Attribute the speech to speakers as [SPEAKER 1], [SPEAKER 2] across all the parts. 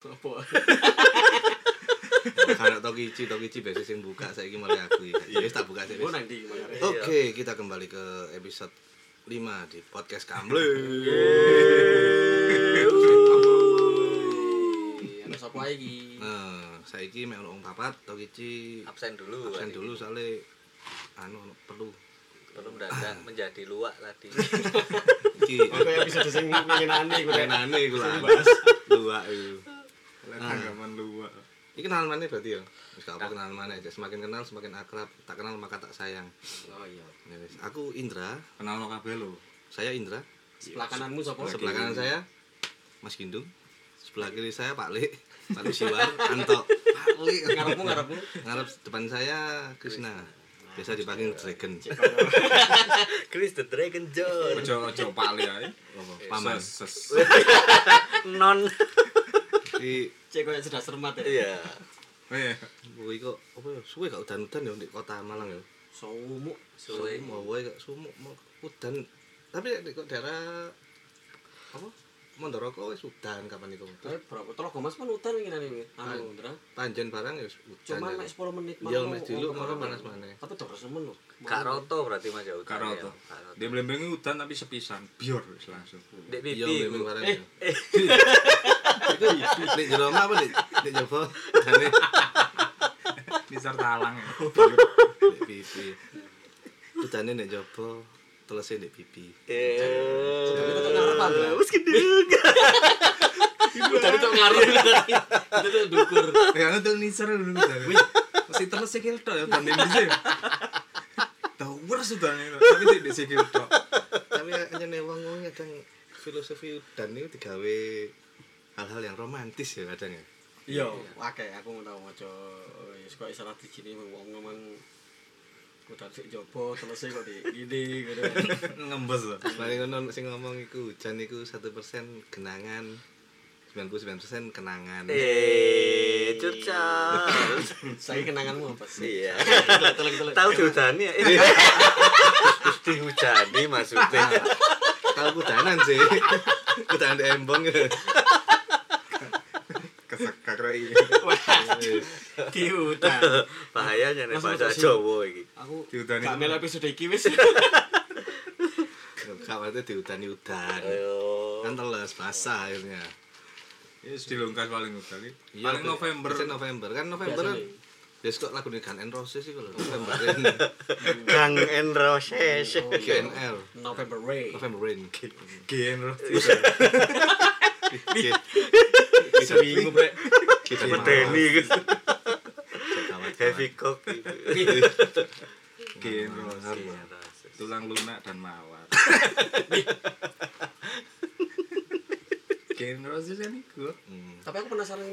[SPEAKER 1] Apa?
[SPEAKER 2] Karena Tokichi, Tokichi biasa sing buka saiki malah aku. Ya
[SPEAKER 3] Iya.
[SPEAKER 2] wis tak buka sih.
[SPEAKER 1] Gue
[SPEAKER 2] wis.
[SPEAKER 1] nanti makanya.
[SPEAKER 2] Oke, kita kembali ke episode 5 di podcast Kamble.
[SPEAKER 1] Ana Iya, sapa iki?
[SPEAKER 2] Nah, saiki mek ono wong papat, Tokichi
[SPEAKER 4] absen dulu
[SPEAKER 2] absen
[SPEAKER 4] tadi.
[SPEAKER 2] dulu soalnya anu ono perlu.
[SPEAKER 4] belum dadak menjadi luak tadi
[SPEAKER 2] Iki
[SPEAKER 3] Oke, episode sing pengen aneh gue rek.
[SPEAKER 2] renane iku lah. Dua iku.
[SPEAKER 5] Ah.
[SPEAKER 3] Tanggapan lu. Wak.
[SPEAKER 2] Iki kenalan mana berarti ya? Wis gak apa kenalan mana aja. Semakin kenal semakin akrab. Tak kenal maka tak sayang.
[SPEAKER 1] Oh iya.
[SPEAKER 2] Ya wis. Aku Indra,
[SPEAKER 5] kenal lo kabeh lo
[SPEAKER 2] saya Indra.
[SPEAKER 1] Sebelah kananmu sapa?
[SPEAKER 2] Sebelah kanan saya Mas Gindung. Sebelah kiri saya Pak Le, Pak Le Siwar, Anto. Pak Le.
[SPEAKER 1] Ngarepmu ngarepmu.
[SPEAKER 2] Ngarep depan saya Krishna. Biasa dipanggil Dragon.
[SPEAKER 4] Chris the Dragon John
[SPEAKER 5] ojo ojo eh. pale ae
[SPEAKER 2] Paman.
[SPEAKER 5] ses
[SPEAKER 4] non
[SPEAKER 2] Jadi
[SPEAKER 1] Cek koyo sudah sermat ya.
[SPEAKER 4] iya
[SPEAKER 5] eh
[SPEAKER 2] kowe kok apa ya suwe gak udan-udan ya di kota Malang ya.
[SPEAKER 1] Somu.
[SPEAKER 4] Suwe.
[SPEAKER 2] Semua wae gak sumuk mau udan. Tapi nek di kok daerah apa? Mondoroko wis udan kapan iku.
[SPEAKER 1] Tapi Eh, berapa telok Mas pun utan iki nang iki. Anu, Ndra.
[SPEAKER 2] Panjen barang ya wis udan.
[SPEAKER 1] Cuman
[SPEAKER 2] ya.
[SPEAKER 1] mek 10 menit
[SPEAKER 2] Iya, mek dulu,
[SPEAKER 1] Oh,
[SPEAKER 2] malah panas maneh.
[SPEAKER 1] Tapi terus semen lho.
[SPEAKER 4] Kak Roto berarti mas Ya, jauh
[SPEAKER 5] karo to dia mlembeng hutan tapi sepisan biur wis langsung
[SPEAKER 4] dek
[SPEAKER 2] Iya,
[SPEAKER 4] pipi
[SPEAKER 2] memang barang.
[SPEAKER 1] Eh,
[SPEAKER 2] ya. Iku nek jero omah apa nek nek jero udane
[SPEAKER 5] di sartalang
[SPEAKER 2] nek pipi. Udane nek jaba telese nek pipi.
[SPEAKER 1] Tapi tetep
[SPEAKER 4] eh
[SPEAKER 1] ngarepan,
[SPEAKER 2] Iya.
[SPEAKER 1] Ndra.
[SPEAKER 4] wis gede
[SPEAKER 1] Tapi tetep ngarep.
[SPEAKER 2] Iya.
[SPEAKER 1] Itu tuh dukur.
[SPEAKER 5] ya itu nisar dulu masih terus sikil tok ya dan ini tahu beres udah nih tapi di di sikil tok
[SPEAKER 2] Tapi hanya wong wong kadang filosofi udan itu digawe hal-hal yang romantis ya kadang ya.
[SPEAKER 1] Iya, akeh aku mau tau aja ya suka istilah di sini wong ngomong udah sik jopo terus kok di gini gitu.
[SPEAKER 2] Ngembes loh. Paling ngono sing ngomong iku hujan iku 1% genangan. 99% kenangan.
[SPEAKER 4] Iya. eh curcol
[SPEAKER 1] Saya kenanganmu apa sih?
[SPEAKER 4] iya
[SPEAKER 1] Telek, telek, telek.
[SPEAKER 4] tahu dihujani ya dihujani maksudnya
[SPEAKER 2] Kalau kudanan sih. Kudanan di embong. ya.
[SPEAKER 5] kesekak rai
[SPEAKER 1] di hutan.
[SPEAKER 4] bahayanya nih
[SPEAKER 1] Mas,
[SPEAKER 4] bahasa
[SPEAKER 1] mas, mas.
[SPEAKER 4] Jawa iki
[SPEAKER 1] Aku
[SPEAKER 5] Di hutan
[SPEAKER 1] gak
[SPEAKER 5] itu.
[SPEAKER 1] melu episode iki wis.
[SPEAKER 2] Kawannya di hutan udan.
[SPEAKER 4] iya. ayo
[SPEAKER 2] Kan teles basah akhirnya.
[SPEAKER 5] ya di lungkas paling udah li
[SPEAKER 2] Iya,
[SPEAKER 5] paling
[SPEAKER 2] Be-
[SPEAKER 5] November
[SPEAKER 2] biasanya November kan November kan
[SPEAKER 1] Biasanya.
[SPEAKER 2] Biasa kok lagu Gun N' Roses sih kalau November
[SPEAKER 4] Gang and Roses
[SPEAKER 2] GNR
[SPEAKER 1] November Rain.
[SPEAKER 2] November Rain
[SPEAKER 5] gen loh
[SPEAKER 2] Bisa bingung bre Kita
[SPEAKER 4] Medeni heavy cock
[SPEAKER 2] Iya.
[SPEAKER 5] gen tulang lunak dan mawar gen roses ini gue
[SPEAKER 2] Hmm.
[SPEAKER 1] Tapi aku penasaran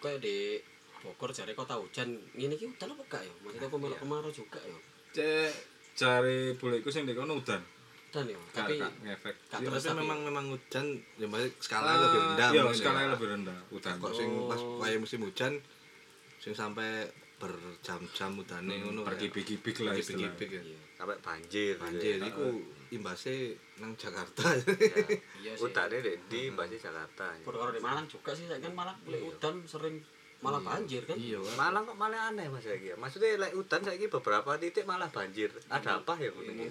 [SPEAKER 1] kayak di Bogor jare kota hujan. Ngene iki hutan apa gak ya? Maksudnya pemeluk kemarau juga ya.
[SPEAKER 5] cek cari buleku sing dekono udan
[SPEAKER 1] Hutan ya,
[SPEAKER 5] Gak-
[SPEAKER 1] tapi
[SPEAKER 5] gak ngefek
[SPEAKER 1] gak
[SPEAKER 2] Ya,
[SPEAKER 1] terus
[SPEAKER 2] tapi
[SPEAKER 1] tapi
[SPEAKER 2] memang memang hujan ya banyak skala
[SPEAKER 5] Ah,
[SPEAKER 2] lebih Oh. rendah
[SPEAKER 5] iya
[SPEAKER 2] mungkin
[SPEAKER 5] skalanya
[SPEAKER 2] ya.
[SPEAKER 5] lebih rendah udan
[SPEAKER 2] kok sing pas kayak musim hujan sing sampai berjam-jam udane ngono
[SPEAKER 5] pergi big lah istilahnya.
[SPEAKER 2] pergi ya
[SPEAKER 4] sampai banjir
[SPEAKER 2] banjir iku imbasnya nang Jakarta
[SPEAKER 1] iya sih.
[SPEAKER 4] utane dek di pasti Jakarta ya.
[SPEAKER 1] Perkara di Malang juga sih saya kan malah boleh udan sering malah banjir kan.
[SPEAKER 2] iya kan
[SPEAKER 4] Malang kok malah aneh mas saya maksudnya lek udan saya beberapa titik malah banjir ada apa ya mungkin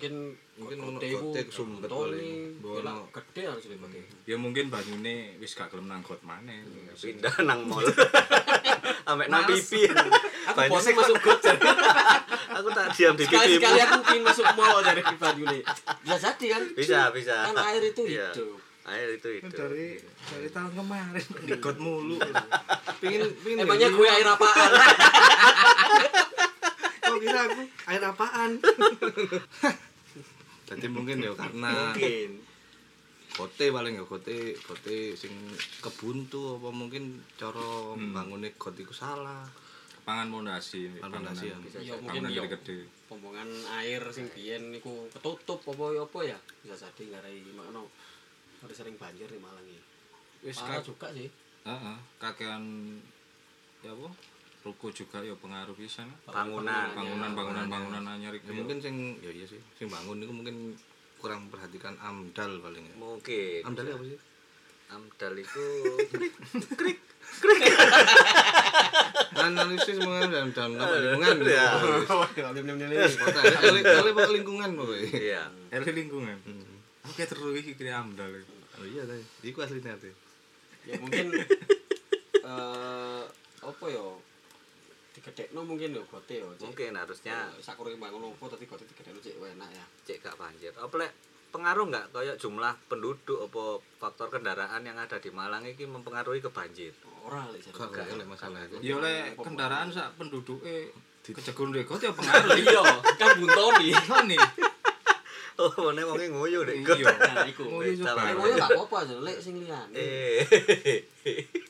[SPEAKER 1] mungkin
[SPEAKER 2] Mungkin ono
[SPEAKER 1] gede ku,
[SPEAKER 2] kote ke Sumbet
[SPEAKER 1] Tony,
[SPEAKER 2] paling. Bono.
[SPEAKER 1] elak gede harus di kote.
[SPEAKER 5] ya mungkin banyune wis gak gelem nangkot maneh
[SPEAKER 4] pindah nang mall sampai nang
[SPEAKER 1] Males.
[SPEAKER 4] pipi
[SPEAKER 1] Aku
[SPEAKER 4] Banjir
[SPEAKER 1] bosen
[SPEAKER 4] kok.
[SPEAKER 1] masuk got jar.
[SPEAKER 4] aku tak diam di
[SPEAKER 1] Sekali sekali
[SPEAKER 4] pipimu
[SPEAKER 1] aku pingin masuk mall dari Banyune. Bisa jadi kan?
[SPEAKER 4] bisa bisa
[SPEAKER 1] Kan air itu
[SPEAKER 4] Iya.
[SPEAKER 1] hidup.
[SPEAKER 4] air itu hidup
[SPEAKER 5] dari dari tahun kemarin dekat mulu
[SPEAKER 2] pingin pingin
[SPEAKER 1] Emangnya gue Eh, air apaan?
[SPEAKER 2] kok kira aku air apaan jadi mungkin ya karena
[SPEAKER 1] Mungkin.
[SPEAKER 2] kote paling ya kote kote sing kebuntu apa mungkin cara bangunnya got iku salah
[SPEAKER 5] pangan pondasi
[SPEAKER 2] Pangan pondasi, ya.
[SPEAKER 5] bisa
[SPEAKER 1] Iya,
[SPEAKER 5] jadi.
[SPEAKER 1] mungkin
[SPEAKER 5] Bangunan
[SPEAKER 1] iya.
[SPEAKER 5] gede-gede
[SPEAKER 1] Pombongan air sing biyen niku ketutup apa ya apa ya. Bisa jadi ngarai makno. Harus sering banjir di Malang iki.
[SPEAKER 5] wis
[SPEAKER 1] Parah
[SPEAKER 5] kak
[SPEAKER 1] juga sih.
[SPEAKER 5] heeh kakean ya apa ruko juga ya pengaruh pisan
[SPEAKER 4] Bangunan.
[SPEAKER 5] bangunan bangunan bangunan anyar
[SPEAKER 2] ya, mungkin sing ya iya sih sing bangun itu mungkin kurang memperhatikan amdal paling ya
[SPEAKER 4] mungkin
[SPEAKER 2] amdalnya apa sih
[SPEAKER 4] Amdal iku
[SPEAKER 2] analisis mengenai dalam dalam apa, lingkungan
[SPEAKER 4] Ya.
[SPEAKER 2] Kota, kali kali apa lingkungan pokoknya
[SPEAKER 4] iya.
[SPEAKER 5] Eli lingkungan. Oke terus iki kira amdal. iki.
[SPEAKER 2] oh iya tadi iku aslinya tadi
[SPEAKER 1] ya mungkin eh apa ya digedekno mungkin ya gote ya cek.
[SPEAKER 4] Mungkin harusnya
[SPEAKER 1] Eh, sakure bangun opo tapi gote digedekno cek enak ya
[SPEAKER 4] cek gak banjir. Apa lek pengaruh nggak kayak jumlah penduduk apa faktor kendaraan yang ada di Malang ini mempengaruhi ke banjir?
[SPEAKER 1] ora lek jar.
[SPEAKER 2] kok gak ada masalah itu
[SPEAKER 5] Ya oleh kendaraan sak penduduke kejegon rego ya pengaruh iki.
[SPEAKER 1] iya kan buntoni
[SPEAKER 5] Ngene.
[SPEAKER 4] Oh, mana mau nguyu deh.
[SPEAKER 5] Iya.
[SPEAKER 1] nah iku
[SPEAKER 5] Ngoyo coba.
[SPEAKER 1] Lek ngono gak apa-apa aja lek sing liyane
[SPEAKER 4] Eh.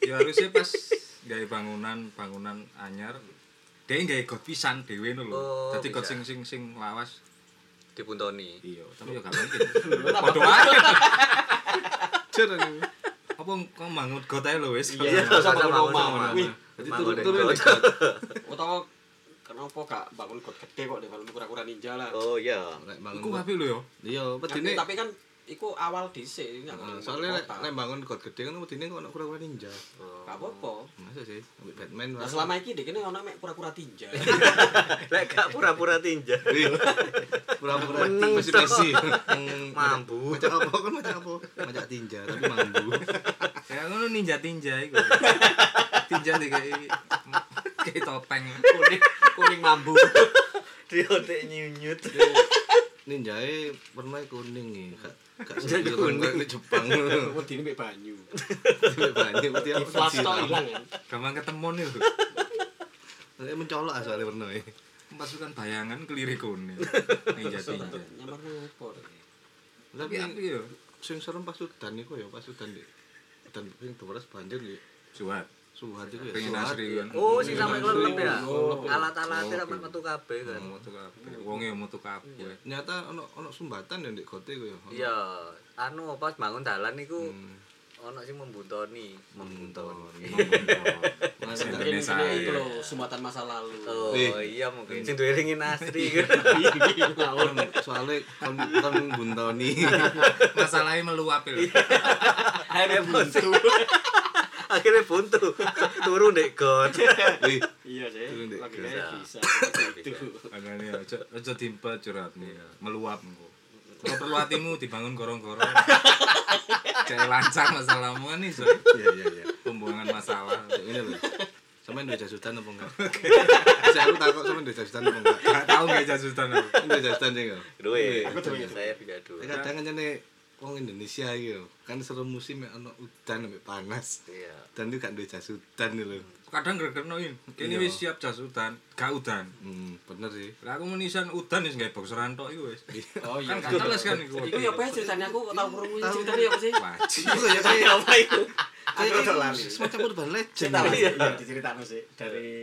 [SPEAKER 5] Ya harusnya pas gawe bangunan bangunan anyar dia gawe got pisan dhewe ngono lho.
[SPEAKER 4] Oh,
[SPEAKER 5] Dadi got
[SPEAKER 4] bisa.
[SPEAKER 5] sing sing sing lawas.
[SPEAKER 4] Dipuntoni.
[SPEAKER 5] Iya, tapi ya gak mungkin. Padha wae. Jer. Apa kok bangun got ae lho wis.
[SPEAKER 1] Iya,
[SPEAKER 5] Kalau-
[SPEAKER 1] sama
[SPEAKER 4] sama
[SPEAKER 1] bangun
[SPEAKER 4] sama
[SPEAKER 1] omah.
[SPEAKER 4] sama.
[SPEAKER 1] Wih,
[SPEAKER 2] jadi ya. turun
[SPEAKER 4] Bangun deh,
[SPEAKER 2] turun
[SPEAKER 4] God.
[SPEAKER 1] utawa kenapa gak bangun got gede kok di film kura-kura ninja lah
[SPEAKER 4] Oh iya.
[SPEAKER 5] Iku
[SPEAKER 2] bangun
[SPEAKER 5] kabeh lho ya.
[SPEAKER 2] iya
[SPEAKER 1] tapi,
[SPEAKER 2] pedine
[SPEAKER 1] tapi kan iku awal dhisik ini gak
[SPEAKER 2] Nah,
[SPEAKER 1] ngomong
[SPEAKER 2] soalnya lek
[SPEAKER 1] kota.
[SPEAKER 2] lek bangun god gede kan pedine kok ono kura-kura ninja
[SPEAKER 1] gak apa-apa
[SPEAKER 2] masa sih ambil Batman
[SPEAKER 1] nah
[SPEAKER 2] lah.
[SPEAKER 1] selama iki dek ini ono mek kura-kura tinja
[SPEAKER 4] Lek gak pura-pura tinja.
[SPEAKER 2] Wih, pura-pura
[SPEAKER 4] Meneng,
[SPEAKER 2] mesti
[SPEAKER 4] toh.
[SPEAKER 2] Messi
[SPEAKER 4] Mambu.
[SPEAKER 2] macam apa kan macam apa macam tinja tapi mambu
[SPEAKER 5] Ya ngono ninja-tinja iku. Tinja dikai kayak topeng.
[SPEAKER 1] kuning kuning mambu
[SPEAKER 4] Diotek nyunyut.
[SPEAKER 2] ninjae warna kuning ya gak gak
[SPEAKER 4] Ninja
[SPEAKER 2] sih
[SPEAKER 4] kuning.
[SPEAKER 2] kuning di Jepang
[SPEAKER 1] wedi mek banyu
[SPEAKER 2] banyak berarti aku
[SPEAKER 1] flash tok
[SPEAKER 2] siram.
[SPEAKER 1] ilang kan
[SPEAKER 5] Gampang ketemu nih lho.
[SPEAKER 2] Saya mencolok ah soalnya warna e.
[SPEAKER 5] Pasukan bayangan kelirih kuning. Ninja-tinja.
[SPEAKER 1] nyamar nopo Dek?
[SPEAKER 5] Tapi
[SPEAKER 2] Tapi
[SPEAKER 5] aku ya
[SPEAKER 2] sing serem pas Sudan iku ya pas Sudan di dan ping terus banjir di
[SPEAKER 5] suat.
[SPEAKER 2] Suhat iku ya.
[SPEAKER 5] Pengen
[SPEAKER 2] Suhat.
[SPEAKER 5] asri kan.
[SPEAKER 4] Oh, sing sampe kelelep ya.
[SPEAKER 1] Oh.
[SPEAKER 4] Alat-alatnya sampe metu kabeh
[SPEAKER 2] iya.
[SPEAKER 4] kan.
[SPEAKER 5] Oh, metu kabeh. Wong ya metu kabeh.
[SPEAKER 2] Ternyata ono ono sumbatan ya di kote iku ya.
[SPEAKER 4] Iya, anu pas bangun dalan niku ono sing membuntoni, membuntoni.
[SPEAKER 1] Iya.
[SPEAKER 2] Mas
[SPEAKER 5] Sendiri.
[SPEAKER 1] Mungkin
[SPEAKER 5] Indonesia,
[SPEAKER 1] ini itu
[SPEAKER 5] iya.
[SPEAKER 1] loh sumbatan masa lalu
[SPEAKER 4] Oh
[SPEAKER 2] Eh.
[SPEAKER 4] iya mungkin sing diringin Asri.
[SPEAKER 1] ngawur
[SPEAKER 2] kan soalnya kon kon buntoni.
[SPEAKER 5] Masalahnya meluap lho.
[SPEAKER 2] Iya.
[SPEAKER 4] Akhirnya buntu. Akhirnya buntu. Turun dek god.
[SPEAKER 2] Wih,
[SPEAKER 1] iya sih
[SPEAKER 2] Turun, Dek.
[SPEAKER 1] logikanya bisa
[SPEAKER 4] Bisa.
[SPEAKER 1] gitu
[SPEAKER 5] Makane aja aja timpa curhatmu.
[SPEAKER 2] Iya.
[SPEAKER 5] Meluap engko. Kalau perlu hatimu dibangun gorong-gorong. Jadi lancar masalahmu kan iso.
[SPEAKER 2] iya iya iya.
[SPEAKER 5] Pembuangan masalah.
[SPEAKER 2] Ini lho. Sampeyan duwe jasutan apa enggak? Saya aku takut sampeyan duwe jasutan apa enggak?
[SPEAKER 5] Gak tau gak jasutan aku.
[SPEAKER 2] Duwe jasutan sih enggak?
[SPEAKER 4] Duwe. Saya punya duwe.
[SPEAKER 2] Kadang kan jane wong Indonesia iki lho, kan serem musim ya ono udan sampai panas.
[SPEAKER 4] Iya.
[SPEAKER 2] Dan itu gak duwe jasutan lho.
[SPEAKER 5] Kadang gregetno ini.
[SPEAKER 2] Iya.
[SPEAKER 5] Kene wis siap jasutan, gak udan.
[SPEAKER 2] Hmm, bener sih.
[SPEAKER 5] Lah aku menisan udan wis gawe boxeran tok iku wis.
[SPEAKER 1] oh iya
[SPEAKER 5] Kan
[SPEAKER 1] kan
[SPEAKER 5] gak teles kan iku.
[SPEAKER 1] Iku ya apa ceritanya aku kok tau krungu ceritanya ya apa sih?
[SPEAKER 5] Wajib.
[SPEAKER 2] Itu ya kayak
[SPEAKER 1] Apa iku?
[SPEAKER 2] kayak
[SPEAKER 1] Aku rada lali.
[SPEAKER 2] semacam urban legend.
[SPEAKER 1] Cerita
[SPEAKER 2] Iya.
[SPEAKER 1] iya diceritano sih dari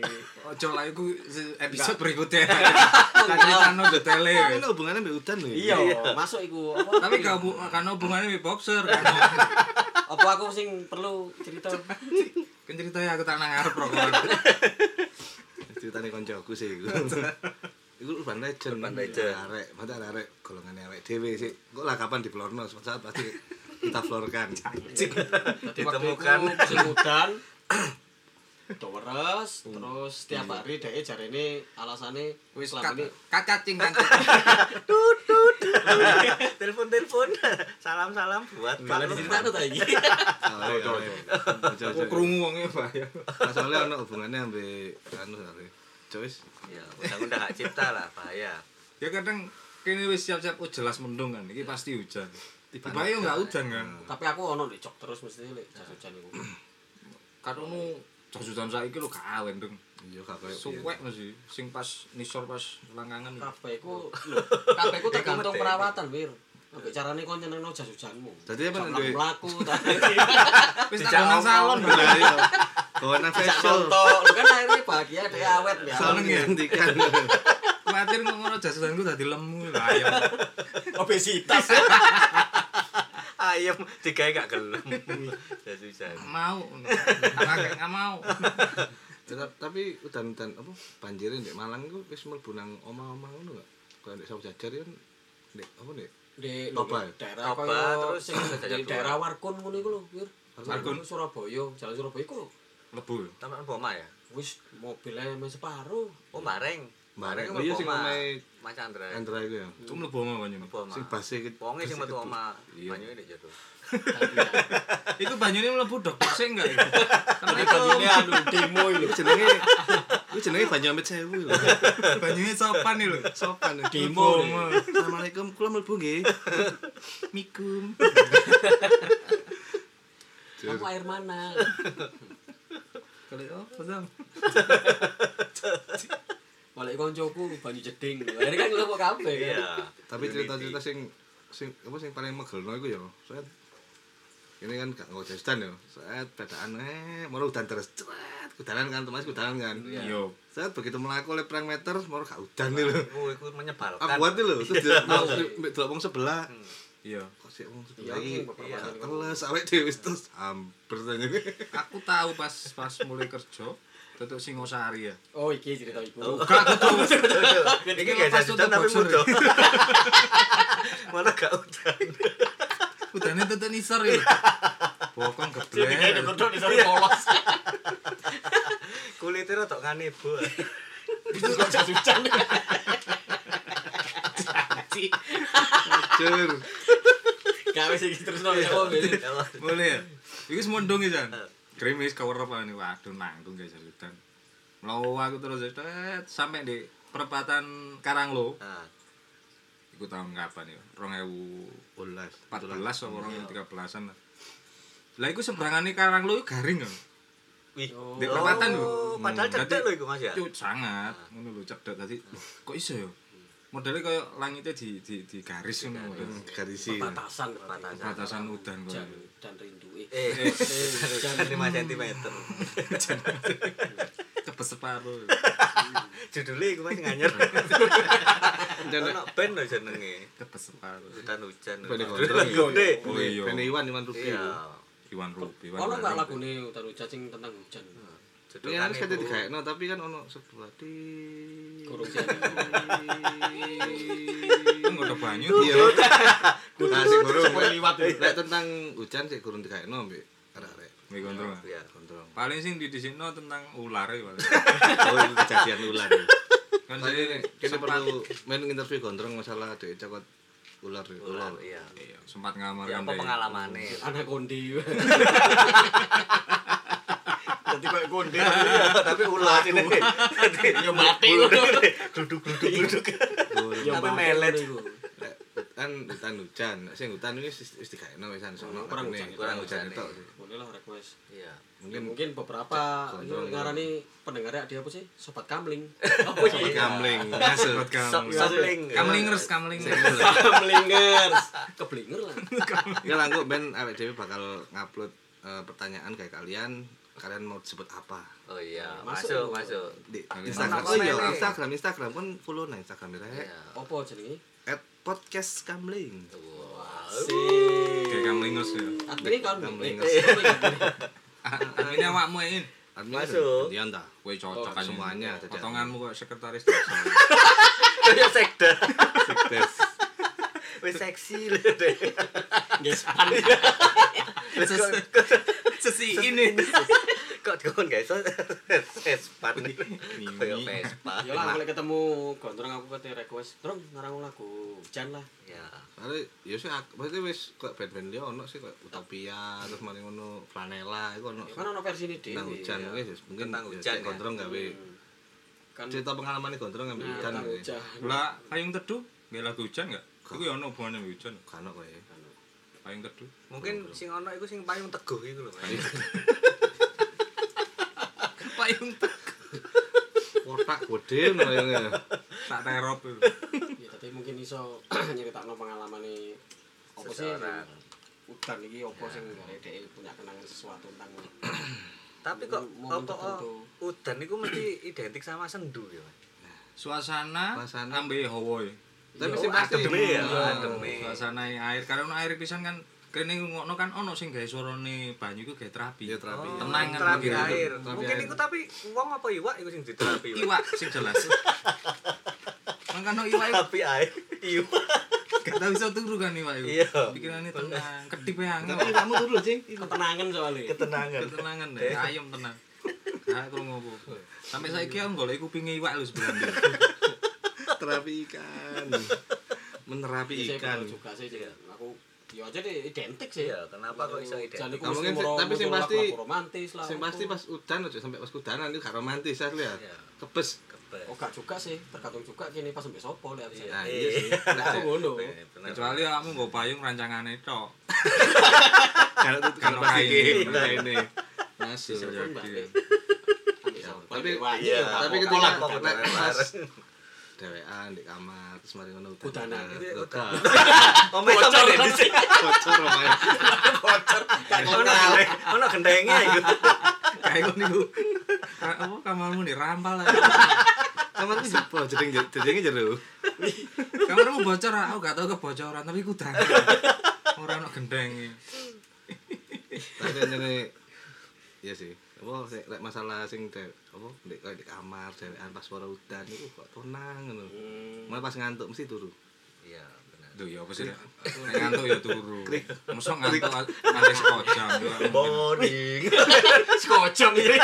[SPEAKER 5] Ojo lah iku se- episode berikutnya. Tak ceritano detaile
[SPEAKER 2] Tapi
[SPEAKER 5] wis.
[SPEAKER 2] ini hubungannya mbak udan lho. ya?
[SPEAKER 1] iya masuk iku apa?
[SPEAKER 5] Tapi gak bu- kan hubungannya wis boxer.
[SPEAKER 1] apa aku sing perlu cerita
[SPEAKER 5] Kan ceritanya aku tak nang arep rokokan.
[SPEAKER 2] Ceritanya koncoku sih iku. Iku urban legend.
[SPEAKER 4] Urban legend.
[SPEAKER 2] Arek, mata arek golongan arek dhewe sih. Kok lah kapan diplorno suatu saat pasti kita florkan.
[SPEAKER 4] Ditemukan.
[SPEAKER 1] sing udan Hmm. Dores, terus setiap hari dia jarene alasane
[SPEAKER 5] Wis
[SPEAKER 1] selama ini
[SPEAKER 5] kat cacing kan.
[SPEAKER 4] Telepon-telepon. Salam-salam buat Pak
[SPEAKER 1] Kalau
[SPEAKER 4] Lukman.
[SPEAKER 1] diceritano ta iki?
[SPEAKER 5] Kok krungu wonge bahaya.
[SPEAKER 2] Soalnya ono hubungannya ambek anu soalnya. Joyce.
[SPEAKER 4] Ya, undang-undang hak cipta lah bahaya.
[SPEAKER 5] Ya kadang kene wis siap-siap oh jelas mendung kan. Iki pasti hujan. Tiba-tiba yo gak hujan kan.
[SPEAKER 1] Tapi aku ono nek jok terus mesti lek jas hujan iku.
[SPEAKER 5] Karono jasutan saiki lho gak awen dong.
[SPEAKER 2] Iya gak koyo.
[SPEAKER 5] Suwek mesti sing pas nisor pas langangan.
[SPEAKER 1] Kabeh iku lho, kabeh iku tergantung perawatan, Wir. Ambek carane kon nyenengno jas hujanmu.
[SPEAKER 2] Dadi apa nek duwe-
[SPEAKER 1] mlaku ta.
[SPEAKER 5] Wis tak nang salon.
[SPEAKER 2] Bener ya. Kawanan
[SPEAKER 1] Cak
[SPEAKER 2] facial.
[SPEAKER 1] contoh, lu kan akhirnya bahagia deh awet ya.
[SPEAKER 2] Salon gantikan.
[SPEAKER 5] Kuatir ngono jasutanku dadi lemu lah ayo.
[SPEAKER 1] Obesitas.
[SPEAKER 4] Ayam tiga gak gelem. Ya susah.
[SPEAKER 5] Mau. Enggak mau.
[SPEAKER 2] Tetap- tapi udan udan apa banjirnya di Malang itu wis mlebu nang omah-omah ngono gak? Kayak di sapu jajar kan di apa nih?
[SPEAKER 1] Di
[SPEAKER 2] Toba.
[SPEAKER 1] daerah
[SPEAKER 4] Toba,
[SPEAKER 1] kaya
[SPEAKER 4] terus
[SPEAKER 1] sing
[SPEAKER 4] ada
[SPEAKER 1] di
[SPEAKER 4] jadwal.
[SPEAKER 1] daerah Warkun ngono iku lho, Wir.
[SPEAKER 5] Margun.
[SPEAKER 1] Aku Surabaya, jalan Surabaya ku
[SPEAKER 5] Lebu.
[SPEAKER 4] Taman Boma ya?
[SPEAKER 1] wis mobilnya meh separuh.
[SPEAKER 4] Oh, Bareng.
[SPEAKER 2] Bareng. Oh,
[SPEAKER 4] Bareng
[SPEAKER 2] iya,
[SPEAKER 4] Boma.
[SPEAKER 2] sing omahe
[SPEAKER 4] Mas Chandra.
[SPEAKER 2] Andra iku ya.
[SPEAKER 5] Itu mlebu omah banyune.
[SPEAKER 4] Boma.
[SPEAKER 2] Sing base iki.
[SPEAKER 4] Wonge sing metu oma
[SPEAKER 5] Iya.
[SPEAKER 4] banyune nek jodoh.
[SPEAKER 5] Iku banyune mlebu dok sing enggak iku.
[SPEAKER 1] Tapi banyune anu demo ini.
[SPEAKER 2] Iku jenenge Iku jenenge Banyu Amit Sewu lho.
[SPEAKER 5] Banyune sopan iki lho.
[SPEAKER 2] Sopan. ya.
[SPEAKER 1] Demo.
[SPEAKER 2] Assalamualaikum, kula mlebu nggih.
[SPEAKER 5] Mikum.
[SPEAKER 1] Aku air mana?
[SPEAKER 5] Kalau apa oh, sam?
[SPEAKER 1] Balik koncoku banyu jeding. Akhirnya kan ngelok kabeh kan.
[SPEAKER 4] Iya.
[SPEAKER 2] Tapi cerita-cerita sing sing apa sing paling megelno iku ya. Soet ini kan gak nggo stand ya. Soet bedaan eh mau udan terus. Cret, kudanan kan Mas kudanan kan.
[SPEAKER 5] Yo.
[SPEAKER 2] Saat begitu melaku oleh perang meter, mau gak udan nih lho.
[SPEAKER 4] Oh, iku menyebalkan.
[SPEAKER 2] Aku Ah, buat nih lho, terus dia mau delok wong sebelah.
[SPEAKER 5] Iya.
[SPEAKER 2] Kok sih wong
[SPEAKER 1] Iya,
[SPEAKER 2] sebelah iki?
[SPEAKER 1] aku
[SPEAKER 2] Iya,
[SPEAKER 1] permasalahan.
[SPEAKER 2] teles awake dhewe wis terus amper tanya
[SPEAKER 5] Aku tahu pas pas mulai kerja tetuk Singosari ya.
[SPEAKER 1] Oh, iki cerita iku.
[SPEAKER 5] Bukan aku tuh.
[SPEAKER 4] Iki gak jajan
[SPEAKER 5] Lepas tutup
[SPEAKER 4] tapi
[SPEAKER 5] boxer,
[SPEAKER 4] muda. Mana gak udah.
[SPEAKER 5] Udane tetuk nisor ya. Bokong
[SPEAKER 1] Jadi
[SPEAKER 5] geblek.
[SPEAKER 1] kodok di sana polos.
[SPEAKER 4] Iya. Kulitnya rotok kanebo.
[SPEAKER 1] Itu kok jasucan.
[SPEAKER 2] Jur.
[SPEAKER 1] Gak wis iki terus nang ya. wong.
[SPEAKER 5] Boleh ya? Iku semondong ya, Jan. Krimis kawerep ini waduh nanggung guys jalutan. Melawu aku terus tet, sampai di perempatan Karanglo.
[SPEAKER 4] Nah,
[SPEAKER 5] Iku tahun kapan ya? 2014
[SPEAKER 2] Bolas.
[SPEAKER 5] atau 2013-an lah. Lah iku seberangane Karanglo iku garing kan.
[SPEAKER 4] Wih,
[SPEAKER 1] Oh.
[SPEAKER 5] Di perempatan lho.
[SPEAKER 4] Oh, Padahal
[SPEAKER 5] Hmm,
[SPEAKER 4] cedek
[SPEAKER 5] dadi-
[SPEAKER 4] lho iku Mas ya.
[SPEAKER 5] Cuk, sangat ngono lho cedek tadi. Loh, Kok iso ya? Modelnya kayak langitnya di di di garis ngono. lho.
[SPEAKER 2] Garisi.
[SPEAKER 1] Batasan, batasan.
[SPEAKER 5] Batasan udan kok.
[SPEAKER 1] Jan dan rindu. Eh,
[SPEAKER 4] Eh,
[SPEAKER 1] Jan
[SPEAKER 4] 5 cm.
[SPEAKER 5] Kebes separuh.
[SPEAKER 4] Judulnya iku Mas nganyar. Ono band lho jenenge.
[SPEAKER 5] Kebes separuh.
[SPEAKER 4] Hutan hujan.
[SPEAKER 2] Band
[SPEAKER 4] Judulnya gede.
[SPEAKER 5] Oh iya.
[SPEAKER 2] Bene Iwan Iwan Rupi.
[SPEAKER 4] Iya.
[SPEAKER 5] Iwan Rupi. Iwan
[SPEAKER 1] Ono gak
[SPEAKER 5] Rupi.
[SPEAKER 1] lagune Utan Hujan sing tentang hujan?
[SPEAKER 2] Ini harus kata
[SPEAKER 4] Ibu.
[SPEAKER 2] digaekno tapi kan ono sebelah di.
[SPEAKER 1] Kurung jan.
[SPEAKER 5] Kan udah banyu.
[SPEAKER 2] Iya. Nah, sing kurung. Lek tentang hujan sik kurung digaekno mbek arek-arek.
[SPEAKER 5] Mie gondrong.
[SPEAKER 4] Iya.
[SPEAKER 2] Kontrol.
[SPEAKER 5] Paling sing di disino tentang ular ya paling.
[SPEAKER 2] Oh, itu kejadian ular.
[SPEAKER 5] Kan
[SPEAKER 2] Jadi
[SPEAKER 5] jadi
[SPEAKER 2] kita
[SPEAKER 5] sempat
[SPEAKER 2] perlu main interview gondrong masalah dek cokot ular ular.
[SPEAKER 4] Ular, Iya.
[SPEAKER 5] iya, sempat ngamar
[SPEAKER 4] Ya apa
[SPEAKER 5] andai.
[SPEAKER 4] pengalamane?
[SPEAKER 1] Anak kondi. Nanti kayak kondi.
[SPEAKER 4] Tapi ular ini.
[SPEAKER 1] Ya mati.
[SPEAKER 4] Duduk-duduk.
[SPEAKER 1] Ya
[SPEAKER 4] Tapi
[SPEAKER 1] mati
[SPEAKER 4] melet.
[SPEAKER 1] iku.
[SPEAKER 2] Lek Hutan hutan hujan, Lek sing hutan ini wis digaekno wisan sono.
[SPEAKER 1] Kurang
[SPEAKER 2] Ini,
[SPEAKER 1] hujan,
[SPEAKER 2] kurang
[SPEAKER 4] kurang
[SPEAKER 2] hujan
[SPEAKER 4] hujan,
[SPEAKER 2] itu.
[SPEAKER 1] Boleh lah request.
[SPEAKER 4] Iya.
[SPEAKER 1] Mungkin
[SPEAKER 2] Mungkin
[SPEAKER 1] mungkin beberapa
[SPEAKER 2] Cek,
[SPEAKER 1] itu
[SPEAKER 2] gondrong.
[SPEAKER 1] ngarani pendengarnya dia apa sih? Sobat kamling. Apa
[SPEAKER 2] sobat
[SPEAKER 1] sih?
[SPEAKER 2] kamling masuk.
[SPEAKER 5] Buat kamu.
[SPEAKER 4] So- Something.
[SPEAKER 5] Kamlingers, kamlingers.
[SPEAKER 1] Kamlingers. Keblinger lah.
[SPEAKER 2] Ya lah kok ben awake dhewe bakal ngupload eh, pertanyaan kayak kalian kalian mau sebut apa
[SPEAKER 4] Oh iya,
[SPEAKER 1] Masuk,
[SPEAKER 4] masuk, masuk.
[SPEAKER 2] di
[SPEAKER 5] Kalian
[SPEAKER 2] Instagram
[SPEAKER 4] mau
[SPEAKER 2] oh iya
[SPEAKER 4] komen.
[SPEAKER 2] Instagram Instagram kan follow nang Instagram ya
[SPEAKER 4] Iya.
[SPEAKER 1] Apa jenenge?
[SPEAKER 2] podcast kamling
[SPEAKER 1] Si.
[SPEAKER 5] Kayak kamlingers ya.
[SPEAKER 1] Admin kan. ya?
[SPEAKER 2] Kamlingers.
[SPEAKER 5] Ah, Ini awakmu ini.
[SPEAKER 4] Masuk.
[SPEAKER 2] Iya entah
[SPEAKER 5] Woi cocok kan
[SPEAKER 2] semuanya, cocok.
[SPEAKER 5] Oh, Potonganmu kok sekretaris desa.
[SPEAKER 4] Kayak sekda.
[SPEAKER 2] Tes.
[SPEAKER 4] Wis seksi lho deh.
[SPEAKER 1] Yes.
[SPEAKER 4] Wis kok
[SPEAKER 5] Sesi ini.
[SPEAKER 4] kok kon guys. Vespa. Kayak
[SPEAKER 5] Mimi.
[SPEAKER 4] Vespa.
[SPEAKER 1] Ya lah kalau ketemu gondrong aku kate request. Drong ngarang lagu hujan lah.
[SPEAKER 4] Ya.
[SPEAKER 2] Soalnya, ya sih, ak- maksudnya wis kok band-band dia ono sih kok Utopia, terus mari ngono Flanela iku ono.
[SPEAKER 1] Ya kan ono versi ini dhewe.
[SPEAKER 2] Tentang hujan
[SPEAKER 1] ya.
[SPEAKER 2] mungkin ya, mungkin
[SPEAKER 4] Tentang
[SPEAKER 2] ya,
[SPEAKER 4] hujan,
[SPEAKER 2] cek gondrong gawe.
[SPEAKER 1] Kan
[SPEAKER 2] Cerita pengalamane gondrong ngambil
[SPEAKER 1] Nah,
[SPEAKER 2] hujan.
[SPEAKER 1] tentang
[SPEAKER 2] gawe.
[SPEAKER 1] hujan.
[SPEAKER 5] Lah payung teduh, nggak lagu hujan enggak?
[SPEAKER 2] Gak.
[SPEAKER 5] Iku ya ono hubungannya sama hujan.
[SPEAKER 2] Kan kok ya.
[SPEAKER 5] Payung teduh.
[SPEAKER 4] Mungkin sing ono iku sing payung teguh iku lho. Mas.
[SPEAKER 5] Payung teduh.
[SPEAKER 2] Kotak gede ngono ya.
[SPEAKER 5] Tak terop itu.
[SPEAKER 1] Ya tapi mungkin iso nyeritakno pengalamane apa sih
[SPEAKER 4] Seseorang. Ya.
[SPEAKER 1] udan iki apa sing gare dhek punya kenangan sesuatu tentang
[SPEAKER 4] Tapi kok
[SPEAKER 1] Momen
[SPEAKER 4] apa
[SPEAKER 1] tertentu.
[SPEAKER 4] udan iku mesti identik sama sendu ya. Mas?
[SPEAKER 5] Suasana
[SPEAKER 2] Suasana.
[SPEAKER 5] ambe hawa ya.
[SPEAKER 2] Tapi
[SPEAKER 1] Iya,
[SPEAKER 2] sing
[SPEAKER 1] oh,
[SPEAKER 2] pasti
[SPEAKER 4] ademe ya,
[SPEAKER 2] Iya.
[SPEAKER 4] ademe.
[SPEAKER 5] Suasana e air karena ono air pisan kan kene ngokno kan ono sing gawe swarane banyu iku gawe terapi.
[SPEAKER 2] Iya, terapi.
[SPEAKER 5] Oh. Tenangan
[SPEAKER 4] terapi
[SPEAKER 5] mungkin.
[SPEAKER 4] air.
[SPEAKER 2] Terapi
[SPEAKER 4] Mungkin
[SPEAKER 2] air.
[SPEAKER 4] iku tapi wong apa iwak iku sing diterapi. Mas.
[SPEAKER 5] Iwak sing jelas. Mangkano iwak iku
[SPEAKER 4] Terapi air. Iwak.
[SPEAKER 5] Gak tau iso turu kan nih Pak. Iku.
[SPEAKER 4] Iya.
[SPEAKER 5] Pikirannya tenang, kedipe angel.
[SPEAKER 1] Tapi kamu turun sih, ketenangan soalnya.
[SPEAKER 4] ketenangan
[SPEAKER 5] Ketenangan deh, ayam tenang. Ah, aku ngopo. Sampai saiki aku golek kupinge iwak lu sebenarnya.
[SPEAKER 2] terapi ikan menerapi
[SPEAKER 1] Iya,
[SPEAKER 2] ikan
[SPEAKER 1] Saya juga sih, Cik. aku ya aja deh identik sih.
[SPEAKER 4] Iya, kenapa kok iso
[SPEAKER 1] Jadi
[SPEAKER 4] identik?
[SPEAKER 1] aku mesti
[SPEAKER 2] Nah, mungkin sih-
[SPEAKER 1] moro-
[SPEAKER 2] tapi sih
[SPEAKER 1] moro-
[SPEAKER 2] pasti-
[SPEAKER 1] moro- romantis lah.
[SPEAKER 2] sing pasti pas udan aja sampai pas udanan itu gak romantis saya lihat
[SPEAKER 4] Iya.
[SPEAKER 2] kepes
[SPEAKER 4] kebas
[SPEAKER 1] Oh, gak juga sih, tergantung juga kini pas sampai sopo lah bisa.
[SPEAKER 2] nah
[SPEAKER 4] Iya.
[SPEAKER 2] iya sih
[SPEAKER 1] Nah, aku ngono.
[SPEAKER 4] Bener, bener.
[SPEAKER 5] Kecuali kamu nggo payung rancangane tok.
[SPEAKER 2] kalau itu kalau
[SPEAKER 5] Kalau
[SPEAKER 2] pasti
[SPEAKER 5] kain.
[SPEAKER 2] kain, kain ini masuk
[SPEAKER 1] Telepon
[SPEAKER 5] Iya.
[SPEAKER 1] balik.
[SPEAKER 2] Tapi-
[SPEAKER 1] Wah,
[SPEAKER 4] iya,
[SPEAKER 1] iya,
[SPEAKER 2] tapi
[SPEAKER 1] aku-
[SPEAKER 2] ketika
[SPEAKER 1] aku-
[SPEAKER 2] nek
[SPEAKER 4] aku-
[SPEAKER 2] pas dewean di kamar terus mari ngono
[SPEAKER 1] Udanan.
[SPEAKER 2] udan
[SPEAKER 4] Omeh sampe di sini
[SPEAKER 2] bocor main
[SPEAKER 4] bocor. Kak ono ono gendenge iku.
[SPEAKER 5] Kayak ngono niku. Ka- Apa kamarmu nih rampal lah.
[SPEAKER 2] kamarku jepo jeding jedinge jero
[SPEAKER 5] Kamarmu bocor, aku gak tau kebocoran tapi kudan. Ora ono gendenge.
[SPEAKER 2] tapi nyene iya sih apa sih lek masalah sing de- apa di, kayak di kamar dewean pas suara udan itu kok tenang ngono mulai pas ngantuk mesti turu
[SPEAKER 4] Iya, bener.
[SPEAKER 5] Duh ya apa sih? Nek ngantuk ya turu. Mosok ngantuk nganti sekojam. ya.
[SPEAKER 4] Boring.
[SPEAKER 1] Sekocam ini.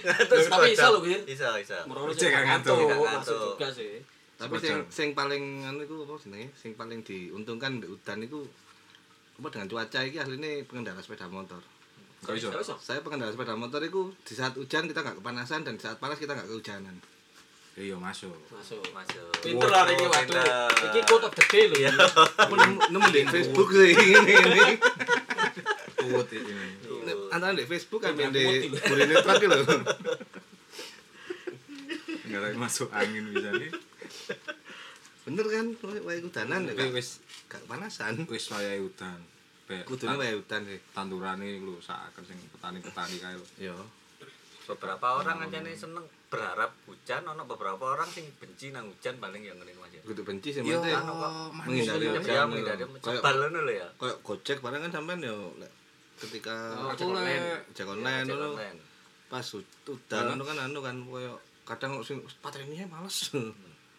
[SPEAKER 4] Terus
[SPEAKER 1] Tapi iso
[SPEAKER 4] kocok.
[SPEAKER 1] lho, Gin.
[SPEAKER 4] Iso, iso.
[SPEAKER 1] Menurut
[SPEAKER 5] Cek,
[SPEAKER 1] saya
[SPEAKER 5] gak
[SPEAKER 1] ngantuk,
[SPEAKER 5] ngantuk.
[SPEAKER 1] masuk
[SPEAKER 4] Iya. Ngantuk.
[SPEAKER 1] juga sih.
[SPEAKER 2] tapi sing
[SPEAKER 5] Semacam.
[SPEAKER 2] sing paling anu iku apa jenenge sing paling diuntungkan di udan itu apa dengan cuaca iki asline pengendara sepeda motor
[SPEAKER 5] Kok iso?
[SPEAKER 1] Terus,
[SPEAKER 2] saya pengendara sepeda motor itu di saat hujan kita nggak kepanasan dan di saat panas kita nggak kehujanan
[SPEAKER 5] Eh, Iya masuk.
[SPEAKER 1] masuk.
[SPEAKER 4] Masuk.
[SPEAKER 1] Pinter lah ini waktu. Iki kotak gede lho. ya.
[SPEAKER 2] aku nemu, nemu di Facebook sih ini ini
[SPEAKER 5] Tuwut ini.
[SPEAKER 2] antara di Facebook kan
[SPEAKER 1] Yang
[SPEAKER 2] di
[SPEAKER 1] putih.
[SPEAKER 2] Burine Truck gitu
[SPEAKER 5] Enggak ada masuk angin bisa nih.
[SPEAKER 2] bener kan wae hudanan ya
[SPEAKER 5] Tapi
[SPEAKER 2] nggak
[SPEAKER 5] wis
[SPEAKER 2] nggak kepanasan
[SPEAKER 5] wis wayahe udan. Be-
[SPEAKER 2] kudune
[SPEAKER 5] tan-
[SPEAKER 2] wae hutan sih
[SPEAKER 5] tandurane lu saken sing petani-petani kae lho.
[SPEAKER 2] yo
[SPEAKER 4] Beberapa orang aja nih seneng berharap hujan, ono beberapa orang sing benci nang hujan paling yang ngene aja.
[SPEAKER 2] kudu benci sih
[SPEAKER 5] Yo,
[SPEAKER 2] maksudnya menghindari
[SPEAKER 1] Iya,
[SPEAKER 4] Ya
[SPEAKER 2] hujan
[SPEAKER 4] dia menghindari
[SPEAKER 2] lho. Kayak-
[SPEAKER 4] mencebal ngono lho ya.
[SPEAKER 2] kayak gojek barang kan sampean yo lek ketika ojek
[SPEAKER 5] Aku lek
[SPEAKER 2] Oh, Iya, online
[SPEAKER 4] Cek
[SPEAKER 2] dulu
[SPEAKER 4] online.
[SPEAKER 2] pas udan anu kan anu kan koyo kadang sing patrine males